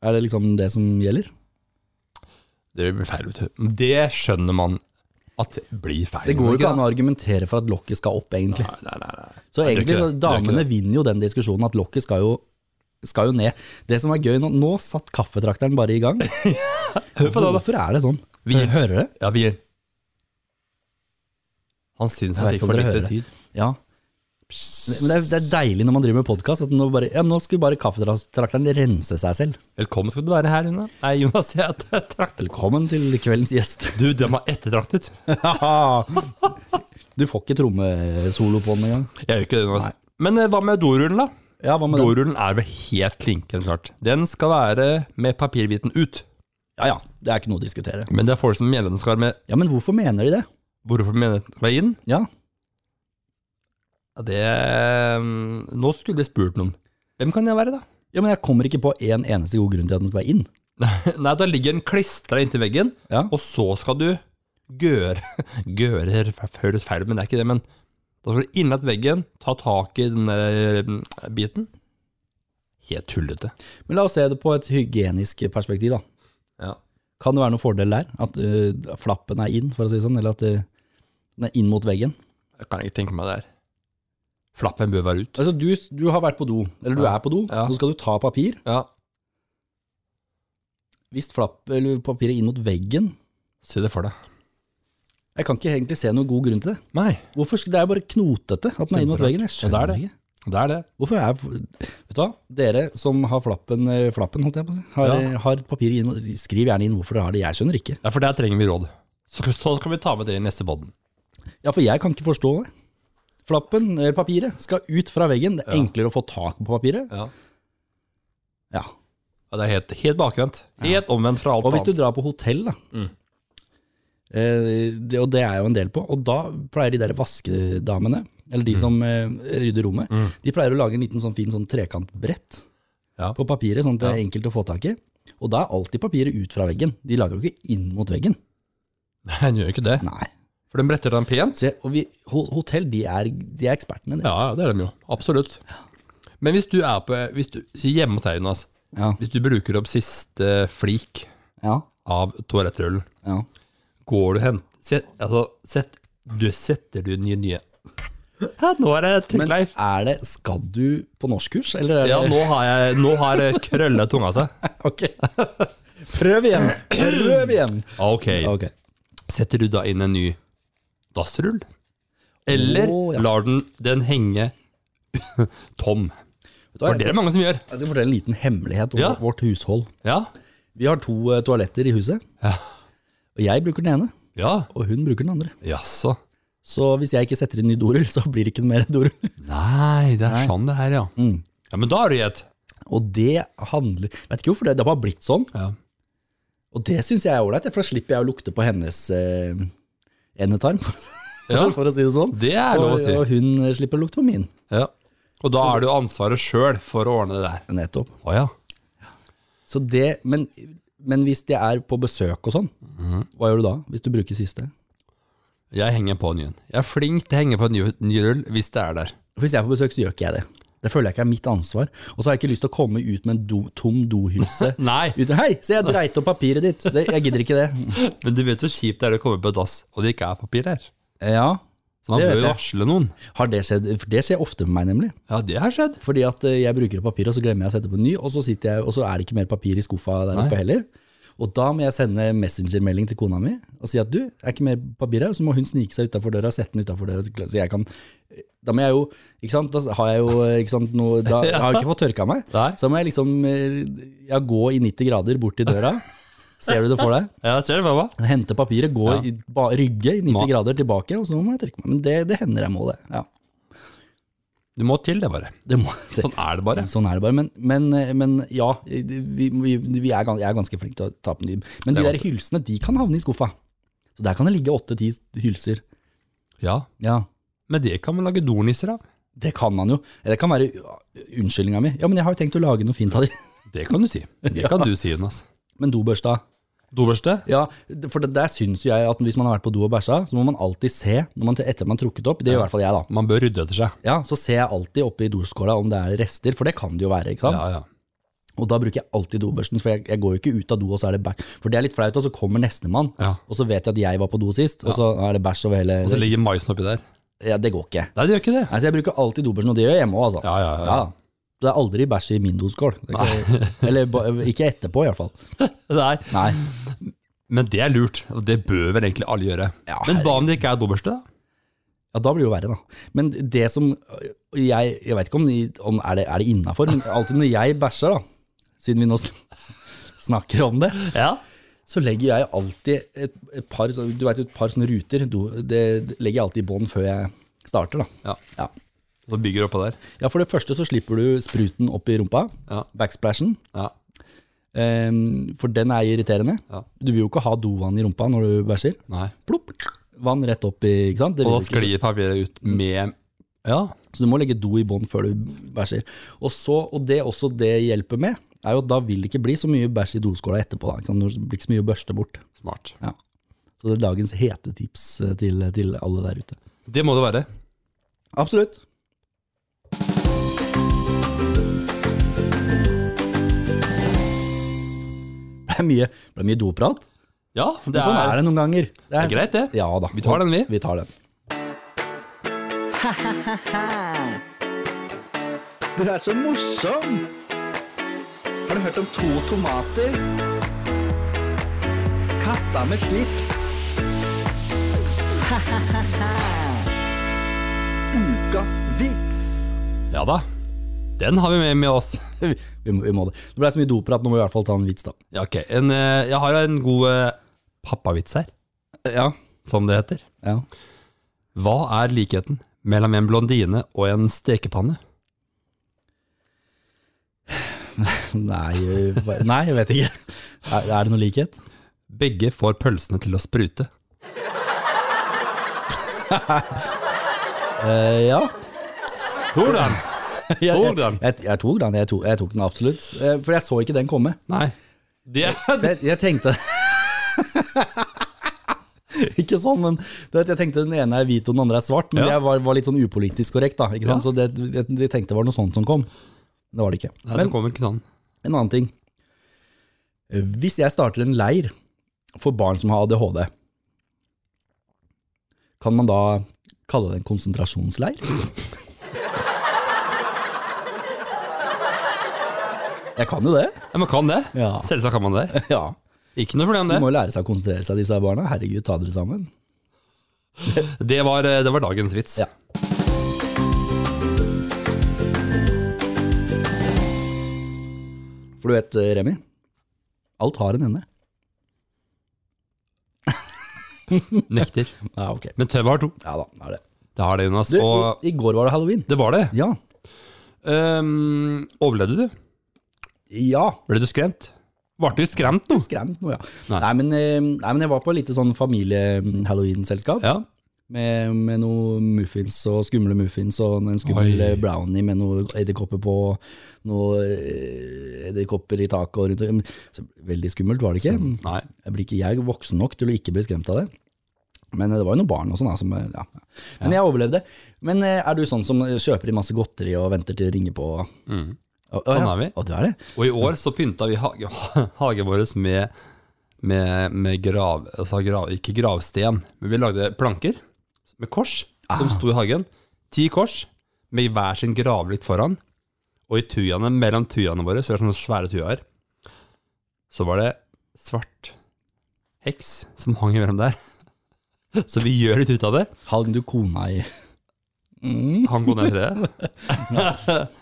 [SPEAKER 2] Er det liksom det som gjelder?
[SPEAKER 1] Det blir feil, vet du. Det skjønner man at blir feil.
[SPEAKER 2] Det går jo ikke an
[SPEAKER 1] da?
[SPEAKER 2] å argumentere for at lokket skal opp, egentlig.
[SPEAKER 1] Nei, nei, nei, nei. Nei,
[SPEAKER 2] Så
[SPEAKER 1] det er
[SPEAKER 2] egentlig
[SPEAKER 1] ikke
[SPEAKER 2] så
[SPEAKER 1] det. Det er ikke
[SPEAKER 2] damene
[SPEAKER 1] det.
[SPEAKER 2] vinner jo den diskusjonen at lokket skal jo, skal jo ned. Det som er gøy nå, nå satt kaffetrakteren bare i
[SPEAKER 1] *laughs*
[SPEAKER 2] gang. Hør
[SPEAKER 1] på det, da.
[SPEAKER 2] Hvorfor er det sånn?
[SPEAKER 1] Vi-
[SPEAKER 2] Hø- hører det?
[SPEAKER 1] Ja, vi Han syns
[SPEAKER 2] Jeg
[SPEAKER 1] han
[SPEAKER 2] vet
[SPEAKER 1] fikk
[SPEAKER 2] ikke om
[SPEAKER 1] for
[SPEAKER 2] dere
[SPEAKER 1] lite
[SPEAKER 2] hører det.
[SPEAKER 1] tid.
[SPEAKER 2] Ja. Men det er, det er deilig når man driver med podkast, at nå, bare, ja, nå skulle bare kaffetrakteren rense seg selv.
[SPEAKER 1] Velkommen skal du være her, Jonas. Nei, *laughs* Jonas, jeg er trakt.
[SPEAKER 2] Velkommen til kveldens gjest. *laughs*
[SPEAKER 1] Du, den var ettertraktet.
[SPEAKER 2] du får ikke trommesolo på den engang.
[SPEAKER 1] Jeg gjør ikke det, Jonas. Men eh, hva med dorullen, da?
[SPEAKER 2] Ja, hva med den?
[SPEAKER 1] Dorullen er vel helt klinkende klart. Den skal være med papirbiten ut.
[SPEAKER 2] Ja ja, det er ikke noe å diskutere.
[SPEAKER 1] Men det er folk som mener den skal være med
[SPEAKER 2] Ja, men hvorfor mener de det?
[SPEAKER 1] Hvorfor mener den skal være inn?
[SPEAKER 2] Ja,
[SPEAKER 1] Ja, det mm, Nå skulle jeg spurt noen. Hvem kan jeg være, da? *laughs*
[SPEAKER 2] ja men jeg kommer ikke på en eneste god grunn til at den skal være inn.
[SPEAKER 1] Nei, da ligger den klistra inntil veggen,
[SPEAKER 2] Ja.
[SPEAKER 1] og så skal du *laughs* gøre Gøre føles feil, men det er ikke det. Men da skal du innat veggen, ta tak i den eh, biten. Helt tullete.
[SPEAKER 2] Men la oss se det på et hygienisk perspektiv, da.
[SPEAKER 1] Ja.
[SPEAKER 2] Kan det være noen fordel der? At øh, flappen er inn, for å si det sånn, eller at øh, den er inn mot veggen?
[SPEAKER 1] Jeg kan ikke tenke meg det her. Flappen bør være ut.
[SPEAKER 2] Altså, du, du har vært på do, eller du
[SPEAKER 1] Ja.
[SPEAKER 2] er på do,
[SPEAKER 1] Ja.
[SPEAKER 2] så skal du ta papir.
[SPEAKER 1] Ja.
[SPEAKER 2] Hvis flapp, eller papiret er inn mot veggen
[SPEAKER 1] Se det for deg.
[SPEAKER 2] Jeg kan ikke egentlig se noen god grunn til det.
[SPEAKER 1] Nei,
[SPEAKER 2] Hvorfor skal, Det er jo bare knotete at den er inn mot
[SPEAKER 1] Kjemperart.
[SPEAKER 2] veggen. Jeg
[SPEAKER 1] Ja, det er
[SPEAKER 2] skjønner
[SPEAKER 1] det.
[SPEAKER 2] ikke.
[SPEAKER 1] det er det.
[SPEAKER 2] Hvorfor er Vet du hva, dere som har flappen, eh, flappen holdt jeg på å si, har, eh,
[SPEAKER 1] Ja.
[SPEAKER 2] har papir inn, skriv gjerne inn hvorfor dere har det. Jeg skjønner ikke.
[SPEAKER 1] Ja, for der trenger vi råd. Så, så skal vi ta med det i neste podden.
[SPEAKER 2] Ja, for jeg kan ikke forstå det. Flappen, eh, papiret, skal ut fra veggen. Det er
[SPEAKER 1] Ja.
[SPEAKER 2] enklere å få tak på papiret.
[SPEAKER 1] Ja.
[SPEAKER 2] Ja.
[SPEAKER 1] det er helt, helt bakvendt. Helt omvendt fra alt
[SPEAKER 2] Og hvis du
[SPEAKER 1] annet.
[SPEAKER 2] drar på hotell, da.
[SPEAKER 1] Mm.
[SPEAKER 2] Eh, det, og det er jeg jo en del på. Og da pleier de der vaskedamene, eller
[SPEAKER 1] Mm.
[SPEAKER 2] de som eh, rydder rommet, de pleier å lage en liten sånn fin sånn trekantbrett
[SPEAKER 1] Ja.
[SPEAKER 2] på papiret, sånn at det er enkelt å få tak i. Og da er alltid papiret ut fra veggen. De lager jo ikke inn mot veggen.
[SPEAKER 1] Nei, *laughs* den gjør ikke det.
[SPEAKER 2] Nei.
[SPEAKER 1] For den bretter den pent.
[SPEAKER 2] Se, og vi, ho- hotell, de er, de er ekspertene. det.
[SPEAKER 1] Ja, ja, det er de jo. Absolutt. Men hvis du er på hvis du, si Hjemme hos deg, Jonas.
[SPEAKER 2] Ja.
[SPEAKER 1] Hvis du bruker opp siste flik
[SPEAKER 2] Ja.
[SPEAKER 1] av toalettrullen,
[SPEAKER 2] ja.
[SPEAKER 1] går du hen set, Altså, sett, du setter du den i nye ja, Nå er det
[SPEAKER 2] Men
[SPEAKER 1] Leif.
[SPEAKER 2] er det Skal du på norskkurs, eller? Er det,
[SPEAKER 1] Ja, nå har jeg Nå har det krølla tunga seg.
[SPEAKER 2] *laughs* Ok. Prøv igjen. Prøv igjen.
[SPEAKER 1] *laughs* Ok.
[SPEAKER 2] Ok.
[SPEAKER 1] Setter du da inn en ny dassrull? Eller
[SPEAKER 2] Å, ja.
[SPEAKER 1] lar den den henge *laughs* tom?
[SPEAKER 2] Vet du hva,
[SPEAKER 1] For det
[SPEAKER 2] jeg,
[SPEAKER 1] er
[SPEAKER 2] skal,
[SPEAKER 1] det mange som gjør.
[SPEAKER 2] jeg skal fortelle en liten hemmelighet om
[SPEAKER 1] Ja.
[SPEAKER 2] vårt hushold.
[SPEAKER 1] Ja.
[SPEAKER 2] Vi har to eh, toaletter i huset.
[SPEAKER 1] Ja.
[SPEAKER 2] Og jeg bruker den ene,
[SPEAKER 1] Ja.
[SPEAKER 2] og hun bruker den andre.
[SPEAKER 1] Jaså.
[SPEAKER 2] Så hvis jeg ikke setter inn ny dorull, så blir det ikke mer dorull.
[SPEAKER 1] Nei, det er sånn det her, ja.
[SPEAKER 2] Mm.
[SPEAKER 1] Ja, Men da har du gjett.
[SPEAKER 2] *laughs* Og det handler Vet ikke hvorfor det, det har bare blitt sånn.
[SPEAKER 1] Ja.
[SPEAKER 2] Og det syns jeg er ålreit, for da slipper jeg å lukte på hennes eh, endetarm, *laughs*
[SPEAKER 1] Ja. *laughs*
[SPEAKER 2] for å si det sånn.
[SPEAKER 1] Det er lov å si.
[SPEAKER 2] Og, og hun eh, slipper å lukte på min.
[SPEAKER 1] Ja. Og da er det jo ansvaret sjøl for å ordne det der.
[SPEAKER 2] Nettopp.
[SPEAKER 1] Å ja.
[SPEAKER 2] Så det, men, men hvis det er på besøk og sånn, hva gjør du da? Hvis du bruker siste?
[SPEAKER 1] Jeg henger på nyen. Jeg er flink til å henge på en ny, ny rull hvis det er der.
[SPEAKER 2] Hvis jeg er på besøk, så gjør ikke jeg det. Det føler jeg ikke er mitt ansvar. Og så har jeg ikke lyst til å komme ut med en do, tom dohuse.
[SPEAKER 1] *laughs* Nei,
[SPEAKER 2] Uten, Hei, se jeg dreit opp papiret ditt! Det, jeg gidder ikke det.
[SPEAKER 1] men du vet hvor kjipt det er å komme på dass, og det ikke er papir der.
[SPEAKER 2] Ja,
[SPEAKER 1] Så man
[SPEAKER 2] Det vet
[SPEAKER 1] bør jo
[SPEAKER 2] jeg.
[SPEAKER 1] varsle noen.
[SPEAKER 2] har det skjedd? For det skjer ofte med meg, nemlig.
[SPEAKER 1] Ja, det har skjedd.
[SPEAKER 2] Fordi at eh, jeg bruker opp papir, og så glemmer jeg å sette på ny, og så, sitter jeg, og så er det ikke mer papir i skuffa der oppe heller. Og da må jeg sende messengermelding til kona mi og si at du, er ikke mer papir her? Og så må hun snike seg utafor døra, sette den utafor døra, så jeg kan Da må jeg jo Ikke sant, da har jeg jo eh, ikke sant, noe,
[SPEAKER 1] *laughs*
[SPEAKER 2] Da har jeg ikke fått tørka meg.
[SPEAKER 1] Nei.
[SPEAKER 2] Så må jeg liksom eh, ja, gå i 90 grader bort til døra.
[SPEAKER 1] *laughs*
[SPEAKER 2] Ser du det for deg?
[SPEAKER 1] Ja, ser du hva?
[SPEAKER 2] Hente papiret, gå
[SPEAKER 1] Ja.
[SPEAKER 2] i ba, rygge i 90
[SPEAKER 1] Må-
[SPEAKER 2] grader tilbake, og så må jeg tørke meg. Men det, det hender jeg må det. Ja.
[SPEAKER 1] Du må til det, bare.
[SPEAKER 2] Det må, det,
[SPEAKER 1] Sånn er det bare.
[SPEAKER 2] Sånn er det bare. Men, men, eh, men ja, vi, vi, vi er, gan- jeg er ganske flink til å ta på ny. Men de
[SPEAKER 1] Det er
[SPEAKER 2] der hylsene de kan havne i skuffa. Så Der kan det ligge åtte-ti hylser.
[SPEAKER 1] Ja,
[SPEAKER 2] Ja,
[SPEAKER 1] men det kan man lage dornisser av.
[SPEAKER 2] Det kan man jo. Eh, Det kan være unnskyldninga mi. Ja, men jeg har jo tenkt å lage noe fint av de. *laughs*
[SPEAKER 1] Det kan du si. Det kan du si, Jonas.
[SPEAKER 2] Men dobørsta
[SPEAKER 1] Dobørste?
[SPEAKER 2] Ja, d- for det der syns jo jeg at hvis man har vært på do og bæsja, så må man alltid se når man, etter man har trukket opp. Det gjør i hvert fall jeg, da.
[SPEAKER 1] Man bør rydde etter seg.
[SPEAKER 2] Ja, Så ser jeg alltid oppi doskåla om det er rester, for det kan det jo være. ikke sant?
[SPEAKER 1] Ja, ja.
[SPEAKER 2] Og da bruker jeg alltid dobørsten, for jeg, jeg går jo ikke ut av do, og så er det bæsj. For det er litt flaut, og så kommer nestemann,
[SPEAKER 1] Ja.
[SPEAKER 2] og så vet jeg at jeg var på do sist, og så er det bæsj over hele
[SPEAKER 1] Og så ligger maisen oppi der.
[SPEAKER 2] Ja, det går ikke.
[SPEAKER 1] Nei, det gjør ikke det.
[SPEAKER 2] Nei, så jeg bruker alltid dobørsten, og det gjør jeg hjemme òg, altså.
[SPEAKER 1] Ja, ja, ja.
[SPEAKER 2] Det er aldri bæsj i min doskål. Det er ikke- Eller ba- ikke etterpå, i hvert fall.
[SPEAKER 1] Nei.
[SPEAKER 2] Nei.
[SPEAKER 1] Men det er lurt, og det bør vel egentlig alle gjøre.
[SPEAKER 2] Ja,
[SPEAKER 1] Men hva om det ikke er dobørste, da?
[SPEAKER 2] Ja, da blir det jo verre, da. Men det som Jeg, jeg veit ikke om, ni- om er det er det innafor, men alltid når jeg bæsjer, da, siden vi nå sn- snakker om det,
[SPEAKER 1] Ja.
[SPEAKER 2] så legger jeg alltid et, et par sånn- Du vet jo, et par sånne ruter. Do, det legger jeg alltid i bånn før jeg starter, da.
[SPEAKER 1] Ja.
[SPEAKER 2] Ja.
[SPEAKER 1] Så bygger du oppå der.
[SPEAKER 2] ja, for det første så slipper du spruten opp i rumpa.
[SPEAKER 1] Ja.
[SPEAKER 2] Backsplashen.
[SPEAKER 1] Ja.
[SPEAKER 2] em, for den er irriterende.
[SPEAKER 1] Ja.
[SPEAKER 2] Du vil jo ikke ha dovann i rumpa når du bæsjer.
[SPEAKER 1] Nei.
[SPEAKER 2] Plopp! Vann rett opp i ikke sant? Det
[SPEAKER 1] Og da
[SPEAKER 2] vil du ikke.
[SPEAKER 1] sklir papiret ut med Mm. Ja.
[SPEAKER 2] Så du må legge do i bånd før du bæsjer. Og, så, og det også det hjelper med, er jo at da vil det ikke bli så mye bæsj i doskåla etterpå. Da, ikke sant? Det blir ikke så mye å børste bort.
[SPEAKER 1] Smart.
[SPEAKER 2] Så det er dagens hete tips eh, til, til alle der ute.
[SPEAKER 1] Det må det være.
[SPEAKER 2] Absolutt. Det er mye, det er mye doprat.
[SPEAKER 1] Ja,
[SPEAKER 2] Men sånn er det noen ganger.
[SPEAKER 1] det er greit, det.
[SPEAKER 2] Ja da.
[SPEAKER 1] Vi tar den, vi.
[SPEAKER 2] Vi
[SPEAKER 5] *laughs*
[SPEAKER 2] tar den.
[SPEAKER 5] Du er så morsom! Har du hørt om to tomater? Katta med slips. *laughs* Ukas vits.
[SPEAKER 1] Ja da. Den har vi med, med oss.
[SPEAKER 2] Vi, *laughs* vi, må, vi må det. Det ble så mye doprat, nå må vi i hvert fall ta en vits, da.
[SPEAKER 1] Ja, ok. En, eh, jeg har en god eh, pappavits her,
[SPEAKER 2] Ja.
[SPEAKER 1] som det heter.
[SPEAKER 2] ja.
[SPEAKER 1] Hva er likheten mellom en blondine og en stekepanne?
[SPEAKER 2] Nei, eh, hva- nei, jeg vet ikke. Er, er det noe likhet?
[SPEAKER 1] Begge får pølsene til å sprute. *laughs*
[SPEAKER 2] Eh, ja.
[SPEAKER 1] Hvordan?
[SPEAKER 2] Jeg,
[SPEAKER 1] Tok
[SPEAKER 2] jeg,
[SPEAKER 1] den?
[SPEAKER 2] jeg, jeg tok den. Jeg tok, jeg tok den absolutt. Eh, For jeg så ikke den komme.
[SPEAKER 1] Nei. Det er
[SPEAKER 2] Jeg, jeg tenkte *laughs* Ikke sånn, men du vet, jeg tenkte den ene er hvit og den andre er svart. Men
[SPEAKER 1] Ja.
[SPEAKER 2] jeg var, var litt sånn upolitisk korrekt, da. Ikke sant? Så det, jeg, jeg tenkte det var noe sånt som kom. Men det var det ikke.
[SPEAKER 1] Nei, det
[SPEAKER 2] Men
[SPEAKER 1] kommer ikke sånn.
[SPEAKER 2] en annen ting. Hvis jeg starter en leir for barn som har ADHD, kan man da kalle det en konsentrasjonsleir? Jeg kan jo det.
[SPEAKER 1] Ja, man kan det.
[SPEAKER 2] Ja.
[SPEAKER 1] Selvsagt kan man det.
[SPEAKER 2] Ja.
[SPEAKER 1] Ikke noe problem,
[SPEAKER 2] De
[SPEAKER 1] det.
[SPEAKER 2] må jo lære seg å konsentrere seg, disse barna. Herregud, ta dere sammen.
[SPEAKER 1] Det var, eh, det var dagens vits.
[SPEAKER 2] Ja. For du vet, eh, Remi, alt har en ende.
[SPEAKER 1] Nekter.
[SPEAKER 2] Ja, ok.
[SPEAKER 1] Men tøvet har to.
[SPEAKER 2] Ja da, det er det.
[SPEAKER 1] Det har det, Jonas.
[SPEAKER 2] Du,
[SPEAKER 1] Og
[SPEAKER 2] i, i går var det halloween.
[SPEAKER 1] det var det.
[SPEAKER 2] Ja.
[SPEAKER 1] Um, overlevde du?
[SPEAKER 2] Ja.
[SPEAKER 1] Ble du skremt? Ble du skremt nå?
[SPEAKER 2] Skremt noe, ja.
[SPEAKER 1] Nei.
[SPEAKER 2] Nei. men, eh, nei, men jeg var på et lite sånn familie-halloween-selskap.
[SPEAKER 1] Ja.
[SPEAKER 2] Med, med noe muffins og skumle muffins og en skummel eh,
[SPEAKER 1] Oi.
[SPEAKER 2] brownie med noe edderkopper på. Noe eh, edderkopper i taket og rundt. om- Så, veldig skummelt var det ikke.
[SPEAKER 1] Nei.
[SPEAKER 2] Jeg blir ikke jeg er voksen nok til å ikke bli skremt av det. Men det var jo noen barn og sånn. da, som, ja. Men jeg overlevde. Men eh, er du sånn som kjøper i masse godteri og venter til de ringer på? Å, å,
[SPEAKER 1] Sånn
[SPEAKER 2] ja.
[SPEAKER 1] er vi.
[SPEAKER 2] Å, du er det?
[SPEAKER 1] Og i år så pynta vi hage, *laughs* hagen vår med, med, med grav, altså grav, ikke gravsten, men vi lagde planker med kors som sto i hagen. Ti kors med hver sin gravlykt foran. Og i tujaene, mellom tujaene våre, så er det sånne svære tujaer, så var det svart heks som hang mellom der. *laughs* Så vi gjør litt ut av det.
[SPEAKER 2] Hang du kona i
[SPEAKER 1] Han går ned i treet. *laughs*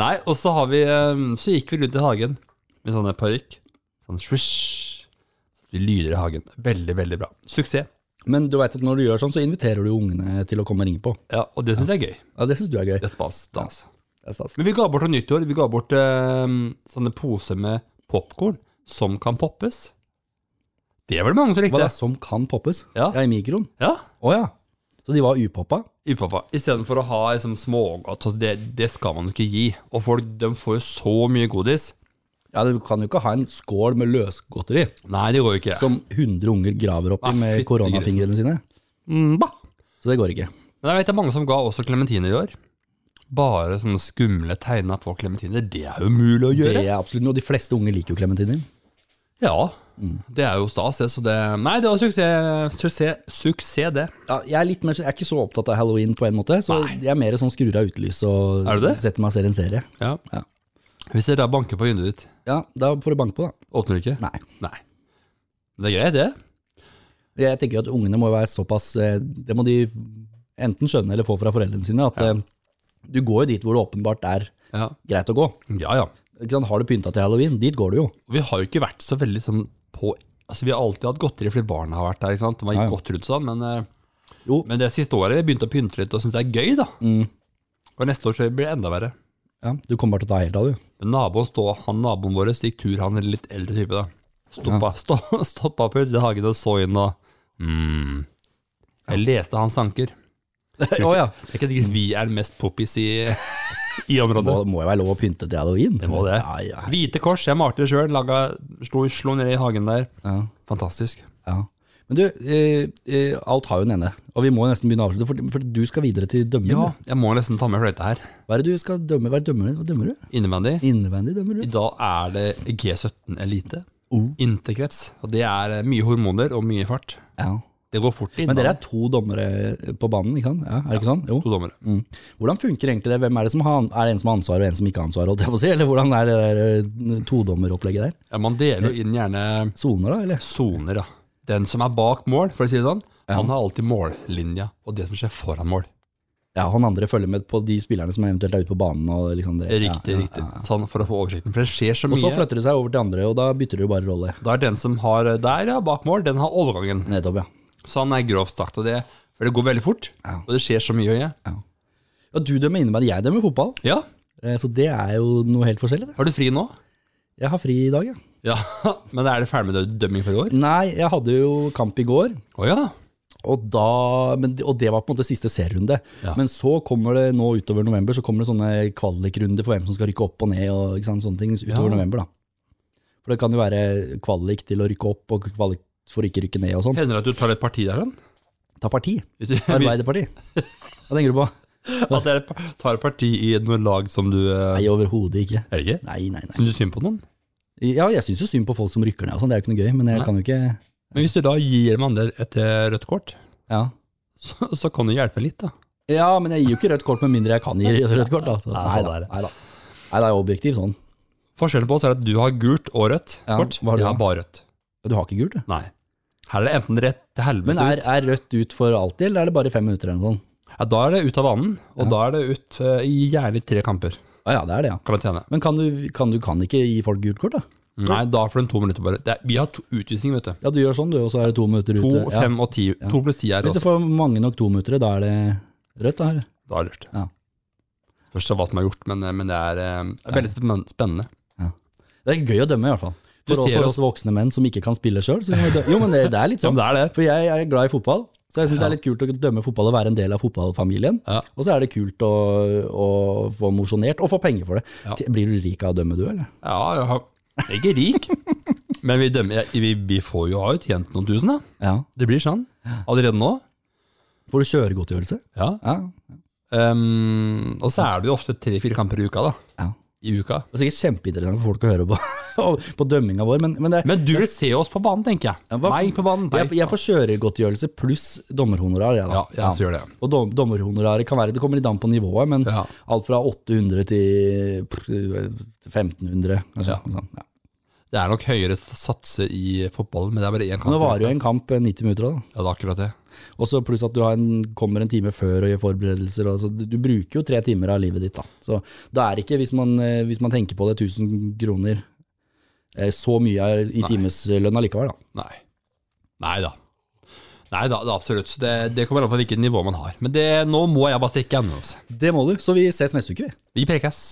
[SPEAKER 1] Nei, og så har vi eh, Så gikk vi rundt i hagen med sånne parykk. Sånn swish. Vi lyder i hagen. Veldig, veldig bra. Suksess.
[SPEAKER 2] *laughs* Men du veit at når du gjør sånn, så inviterer du ungene til å komme og ringe på.
[SPEAKER 1] Ja, og det syns jeg er gøy.
[SPEAKER 2] Ja, Det syns du er gøy.
[SPEAKER 1] Det er stas. stas.
[SPEAKER 2] Det er stas.
[SPEAKER 1] Men vi ga bort noe nyttår. Vi ga bort eh, sånne poser med popkorn som kan poppes. Det var det mange som
[SPEAKER 2] Hva
[SPEAKER 1] likte.
[SPEAKER 2] da, som kan poppes?
[SPEAKER 1] Ja.
[SPEAKER 2] i mikroen?
[SPEAKER 1] Ja,
[SPEAKER 2] Å ja. Så de var upoppa?
[SPEAKER 1] Upappa. Istedenfor å ha liksom, smågodt. altså, Det, det skal man jo ikke gi. Og folk de får jo så mye godis.
[SPEAKER 2] Ja, Du kan jo ikke ha en skål med løsgodteri
[SPEAKER 1] Nei, det går jo ikke.
[SPEAKER 2] som 100 unger graver opp
[SPEAKER 1] Ah,
[SPEAKER 2] i med
[SPEAKER 1] fytti
[SPEAKER 2] koronafingrene sine. Mm, bah. Så det går ikke.
[SPEAKER 1] Men jeg vet det er mange som ga også klementiner i år. Bare sånne skumle tegna på klementiner. Det er jo umulig å
[SPEAKER 2] Det
[SPEAKER 1] gjøre.
[SPEAKER 2] er absolutt noe. De fleste unger liker jo klementiner.
[SPEAKER 1] Ja.
[SPEAKER 2] Mm.
[SPEAKER 1] Det er jo stas, det. Så det Nei, det var suksess. Suksess, suksess det.
[SPEAKER 2] Ja, jeg, er litt mer, jeg er ikke så opptatt av halloween på en måte, så jeg er mer sånn skrur av utelyset og
[SPEAKER 1] Er du det?
[SPEAKER 2] setter meg og ser en serie.
[SPEAKER 1] Ja.
[SPEAKER 2] Ja.
[SPEAKER 1] Hvis dere da banker på vinduet ditt,
[SPEAKER 2] Ja, da får du banke på, da.
[SPEAKER 1] åpner du ikke?
[SPEAKER 2] Nei.
[SPEAKER 1] Nei. Det er greit, det.
[SPEAKER 2] Jeg tenker jo at ungene må være såpass eh, Det må de enten skjønne eller få fra foreldrene sine, at eh, du går jo dit hvor det åpenbart er
[SPEAKER 1] Ja,
[SPEAKER 2] greit å gå.
[SPEAKER 1] ja. ja.
[SPEAKER 2] Ikke sant? Har du pynta til halloween, dit går du jo.
[SPEAKER 1] Og vi har jo ikke vært så veldig sånn på Altså, vi har alltid hatt godteri fordi barna har vært der, ikke sant. De har
[SPEAKER 2] Ja, ja.
[SPEAKER 1] gitt godt rundt sånn, men, eh,
[SPEAKER 2] Jo. Mm.
[SPEAKER 1] men det siste året vi begynte å pynte litt og synes det er gøy, da. Og neste år så blir det enda verre.
[SPEAKER 2] Ja, du kommer bare til å ta helt av, du.
[SPEAKER 1] Men naboen stå, han naboen vår gikk tur, han er litt eldre type da. Stoppa, stå, *laughs* stoppa på utsiden av hagen og så inn og mm. Jeg leste hans
[SPEAKER 2] *laughs*
[SPEAKER 1] tanker.
[SPEAKER 2] Å ja.
[SPEAKER 1] Det er ikke sikkert vi er mest poppis i, *laughs* i
[SPEAKER 2] Må,
[SPEAKER 1] området.
[SPEAKER 2] må jo være lov å pynte til halloween.
[SPEAKER 1] Det må det.
[SPEAKER 2] Ja, ja.
[SPEAKER 1] Hvite kors, jeg malte det sjøl. Slo, slo ned i hagen der.
[SPEAKER 2] ja.
[SPEAKER 1] Fantastisk.
[SPEAKER 2] ja. Men du, eh, eh, alt har jo en ende, og vi må jo nesten begynne å avslutte, for, for du skal videre til dømming.
[SPEAKER 1] Ja,
[SPEAKER 2] du.
[SPEAKER 1] jeg må nesten ta med fløyta her.
[SPEAKER 2] Hva er det du skal dømme? Hva er det dømmer du? Hva dømmer du?
[SPEAKER 1] Innebandy.
[SPEAKER 2] Innevendig dømmer
[SPEAKER 1] I
[SPEAKER 2] du?
[SPEAKER 1] dag er det G17 Elite.
[SPEAKER 2] Oh.
[SPEAKER 1] Interkrets. Og det er eh, mye hormoner og mye fart.
[SPEAKER 2] Ja.
[SPEAKER 1] Det går fort i
[SPEAKER 2] Men dere
[SPEAKER 1] innebandy.
[SPEAKER 2] er to dommere på banen, ikke sant? Ja, er det ikke sånn? Jo.
[SPEAKER 1] To dommere.
[SPEAKER 2] Mm. Hvordan funker egentlig det? Hvem Er det som har, er det en som har ansvar og en som ikke har ansvar? holdt jeg på å si? Eller hvordan er det der eh, todommeropplegget der?
[SPEAKER 1] Ja, man deler
[SPEAKER 2] Eh.
[SPEAKER 1] jo inn gjerne
[SPEAKER 2] Soner, da? eller?
[SPEAKER 1] soner, da. Den som er bak mål, for å si det sånn, han har alltid mållinja og det som skjer foran mål.
[SPEAKER 2] Ja, Han andre følger med på de spillerne som eventuelt er ute på banen. Og liksom det.
[SPEAKER 1] Riktig,
[SPEAKER 2] ja, ja,
[SPEAKER 1] riktig.
[SPEAKER 2] ja.
[SPEAKER 1] Sånn for å få oversikten. For det skjer så
[SPEAKER 2] Og så
[SPEAKER 1] mye.
[SPEAKER 2] flytter det seg over til andre, og da bytter det jo bare rolle.
[SPEAKER 1] da er den som har der, ja, bak mål, den har overgangen.
[SPEAKER 2] Nettopp, ja.
[SPEAKER 1] Så han er grovt sagt, og det, for det går veldig fort.
[SPEAKER 2] Ja.
[SPEAKER 1] Og det skjer så mye. Ja.
[SPEAKER 2] ja du dømmer innebandy, jeg dømmer fotball.
[SPEAKER 1] ja,
[SPEAKER 2] Eh, Så det er jo noe helt forskjellig. det.
[SPEAKER 1] har du fri nå?
[SPEAKER 2] Jeg har fri i dag, jeg. Ja.
[SPEAKER 1] Ja, *laughs* men er det ferdig med dømming for i år?
[SPEAKER 2] Nei, jeg hadde jo kamp i går.
[SPEAKER 1] Å ja.
[SPEAKER 2] Og, da, men, og det var på en måte siste serierunde.
[SPEAKER 1] Ja.
[SPEAKER 2] Men så kommer det nå utover november så kommer det sånne kvalikrunder for hvem som skal rykke opp og ned. og ikke sant, sånne ting utover
[SPEAKER 1] Ja.
[SPEAKER 2] november da. For det kan jo være kvalik til å rykke opp og kvalik for ikke rykke ned og sånn.
[SPEAKER 1] Hender det at du tar et parti der, sånn? *laughs*
[SPEAKER 2] Ta parti.
[SPEAKER 1] Hvis du
[SPEAKER 2] Arbeiderparti. Hva tenker du på?
[SPEAKER 1] at dere pa- tar parti i noe lag som du eh,
[SPEAKER 2] Nei, overhodet ikke.
[SPEAKER 1] Er det ikke?
[SPEAKER 2] Nei, nei, nei.
[SPEAKER 1] Syns du synd på noen?
[SPEAKER 2] Ja, jeg syns jo synd på folk som rykker ned og sånn, det er jo ikke noe gøy, men jeg
[SPEAKER 1] Nei.
[SPEAKER 2] kan jo ikke
[SPEAKER 1] Men hvis du da gir dem andre et eh, rødt kort,
[SPEAKER 2] ja.
[SPEAKER 1] så, så kan du hjelpe litt, da.
[SPEAKER 2] ja, men jeg gir jo ikke rødt kort med mindre jeg kan gi rødt kort, da. Så,
[SPEAKER 1] Nei,
[SPEAKER 2] nei,
[SPEAKER 1] sånn
[SPEAKER 2] da.
[SPEAKER 1] er det.
[SPEAKER 2] Nei, da. Nei, det er objektiv sånn.
[SPEAKER 1] Forskjellen på oss er at du har gult og rødt
[SPEAKER 2] Ja,
[SPEAKER 1] kort.
[SPEAKER 2] hva har du
[SPEAKER 1] Jeg
[SPEAKER 2] da?
[SPEAKER 1] har bare rødt.
[SPEAKER 2] Du har ikke gult, du?
[SPEAKER 1] Nei. Her er det enten rett til helvete
[SPEAKER 2] Men er,
[SPEAKER 1] ut.
[SPEAKER 2] er rødt ut for alltid, eller er det bare fem minutter eller noe sånt?
[SPEAKER 1] Ja, da er det ut av banen, og da er det ut eh, i gjerne tre kamper.
[SPEAKER 2] Ah, Ja, ja, det er det, ja.
[SPEAKER 1] Karantene.
[SPEAKER 2] Men kan du, kan du kan ikke gi folk gult kort, da?
[SPEAKER 1] Nei, da får du to minutter bare. Det er, vi har to utvisninger, vet du.
[SPEAKER 2] Ja, du gjør sånn, du, og så er det to minutter
[SPEAKER 1] To,
[SPEAKER 2] ute. ja.
[SPEAKER 1] fem og ti. To pluss ti er
[SPEAKER 2] Hvis du
[SPEAKER 1] også.
[SPEAKER 2] får mange nok tominuttere, da er det rødt, da? eller?
[SPEAKER 1] Da er det lurt.
[SPEAKER 2] Ja.
[SPEAKER 1] Først av hva som er gjort, men, men det er eh, veldig spen- spennende.
[SPEAKER 2] Det er gøy å dømme, i hvert fall.
[SPEAKER 1] Du
[SPEAKER 2] For,
[SPEAKER 1] ser
[SPEAKER 2] for
[SPEAKER 1] oss-
[SPEAKER 2] oss voksne menn som ikke kan spille sjøl. Jo, men det, det er litt
[SPEAKER 1] *laughs* Ja,
[SPEAKER 2] sånn.
[SPEAKER 1] men det er det.
[SPEAKER 2] For jeg er glad i fotball, så jeg syns det er litt kult å dømme fotball og være en del av fotballfamilien.
[SPEAKER 1] Ja.
[SPEAKER 2] Og så er det kult å, å få mosjonert og få penger for det.
[SPEAKER 1] Ja.
[SPEAKER 2] Ti- Blir du rik av å dømme, du, eller?
[SPEAKER 1] Ja, jeg har, jeg er ikke rik,
[SPEAKER 2] *laughs*
[SPEAKER 1] men vi, dømmer, vi, vi får jo ha jo tjent noen tusen, da.
[SPEAKER 2] Ja.
[SPEAKER 1] Det blir sånn. Allerede nå.
[SPEAKER 2] Får du kjøregodtgjørelse?
[SPEAKER 1] Ja.
[SPEAKER 2] Ja.
[SPEAKER 1] Ehm, og så er det jo ofte tre-fire kamper i uka, da.
[SPEAKER 2] ja.
[SPEAKER 1] I uka.
[SPEAKER 2] Det er sikkert kjempeinteressant for folk å høre på, *laughs* på dømminga vår, men, men det,
[SPEAKER 1] Men du vil se oss på banen, tenker jeg.
[SPEAKER 2] Ja, hva-
[SPEAKER 1] Meg på banen. Deg.
[SPEAKER 2] jeg, jeg får kjøregodtgjørelse pluss dommerhonorar. Jeg, da.
[SPEAKER 1] Ja, jeg også gjør det.
[SPEAKER 2] Og dom, dommerhonoraret kan være, det kommer litt an på nivået, men
[SPEAKER 1] Ja.
[SPEAKER 2] alt fra 800 til pff, 1500. Kanskje,
[SPEAKER 1] Ja.
[SPEAKER 2] Sånn, ja.
[SPEAKER 1] Det er nok høyere satser i fotballen, men det er bare én kamp.
[SPEAKER 2] Nå varer jo en kamp eh, 90 minutter, da.
[SPEAKER 1] Ja, det er akkurat det.
[SPEAKER 2] Og så pluss at du har en, kommer en time før og gjør forberedelser. Og så du, du bruker jo tre timer av livet ditt, da. Så det er ikke, hvis man, eh, hvis man tenker på det, 1000 kroner eh, så mye er i timeslønn allikevel, da.
[SPEAKER 1] Nei. Nei da. Nei da, det er absolutt. Så det, det kommer an på hvilket nivå man har. Men det, nå må jeg bare stikke ennå. Altså.
[SPEAKER 2] Det må du, så vi ses neste uke, vi.
[SPEAKER 1] Vi prekes.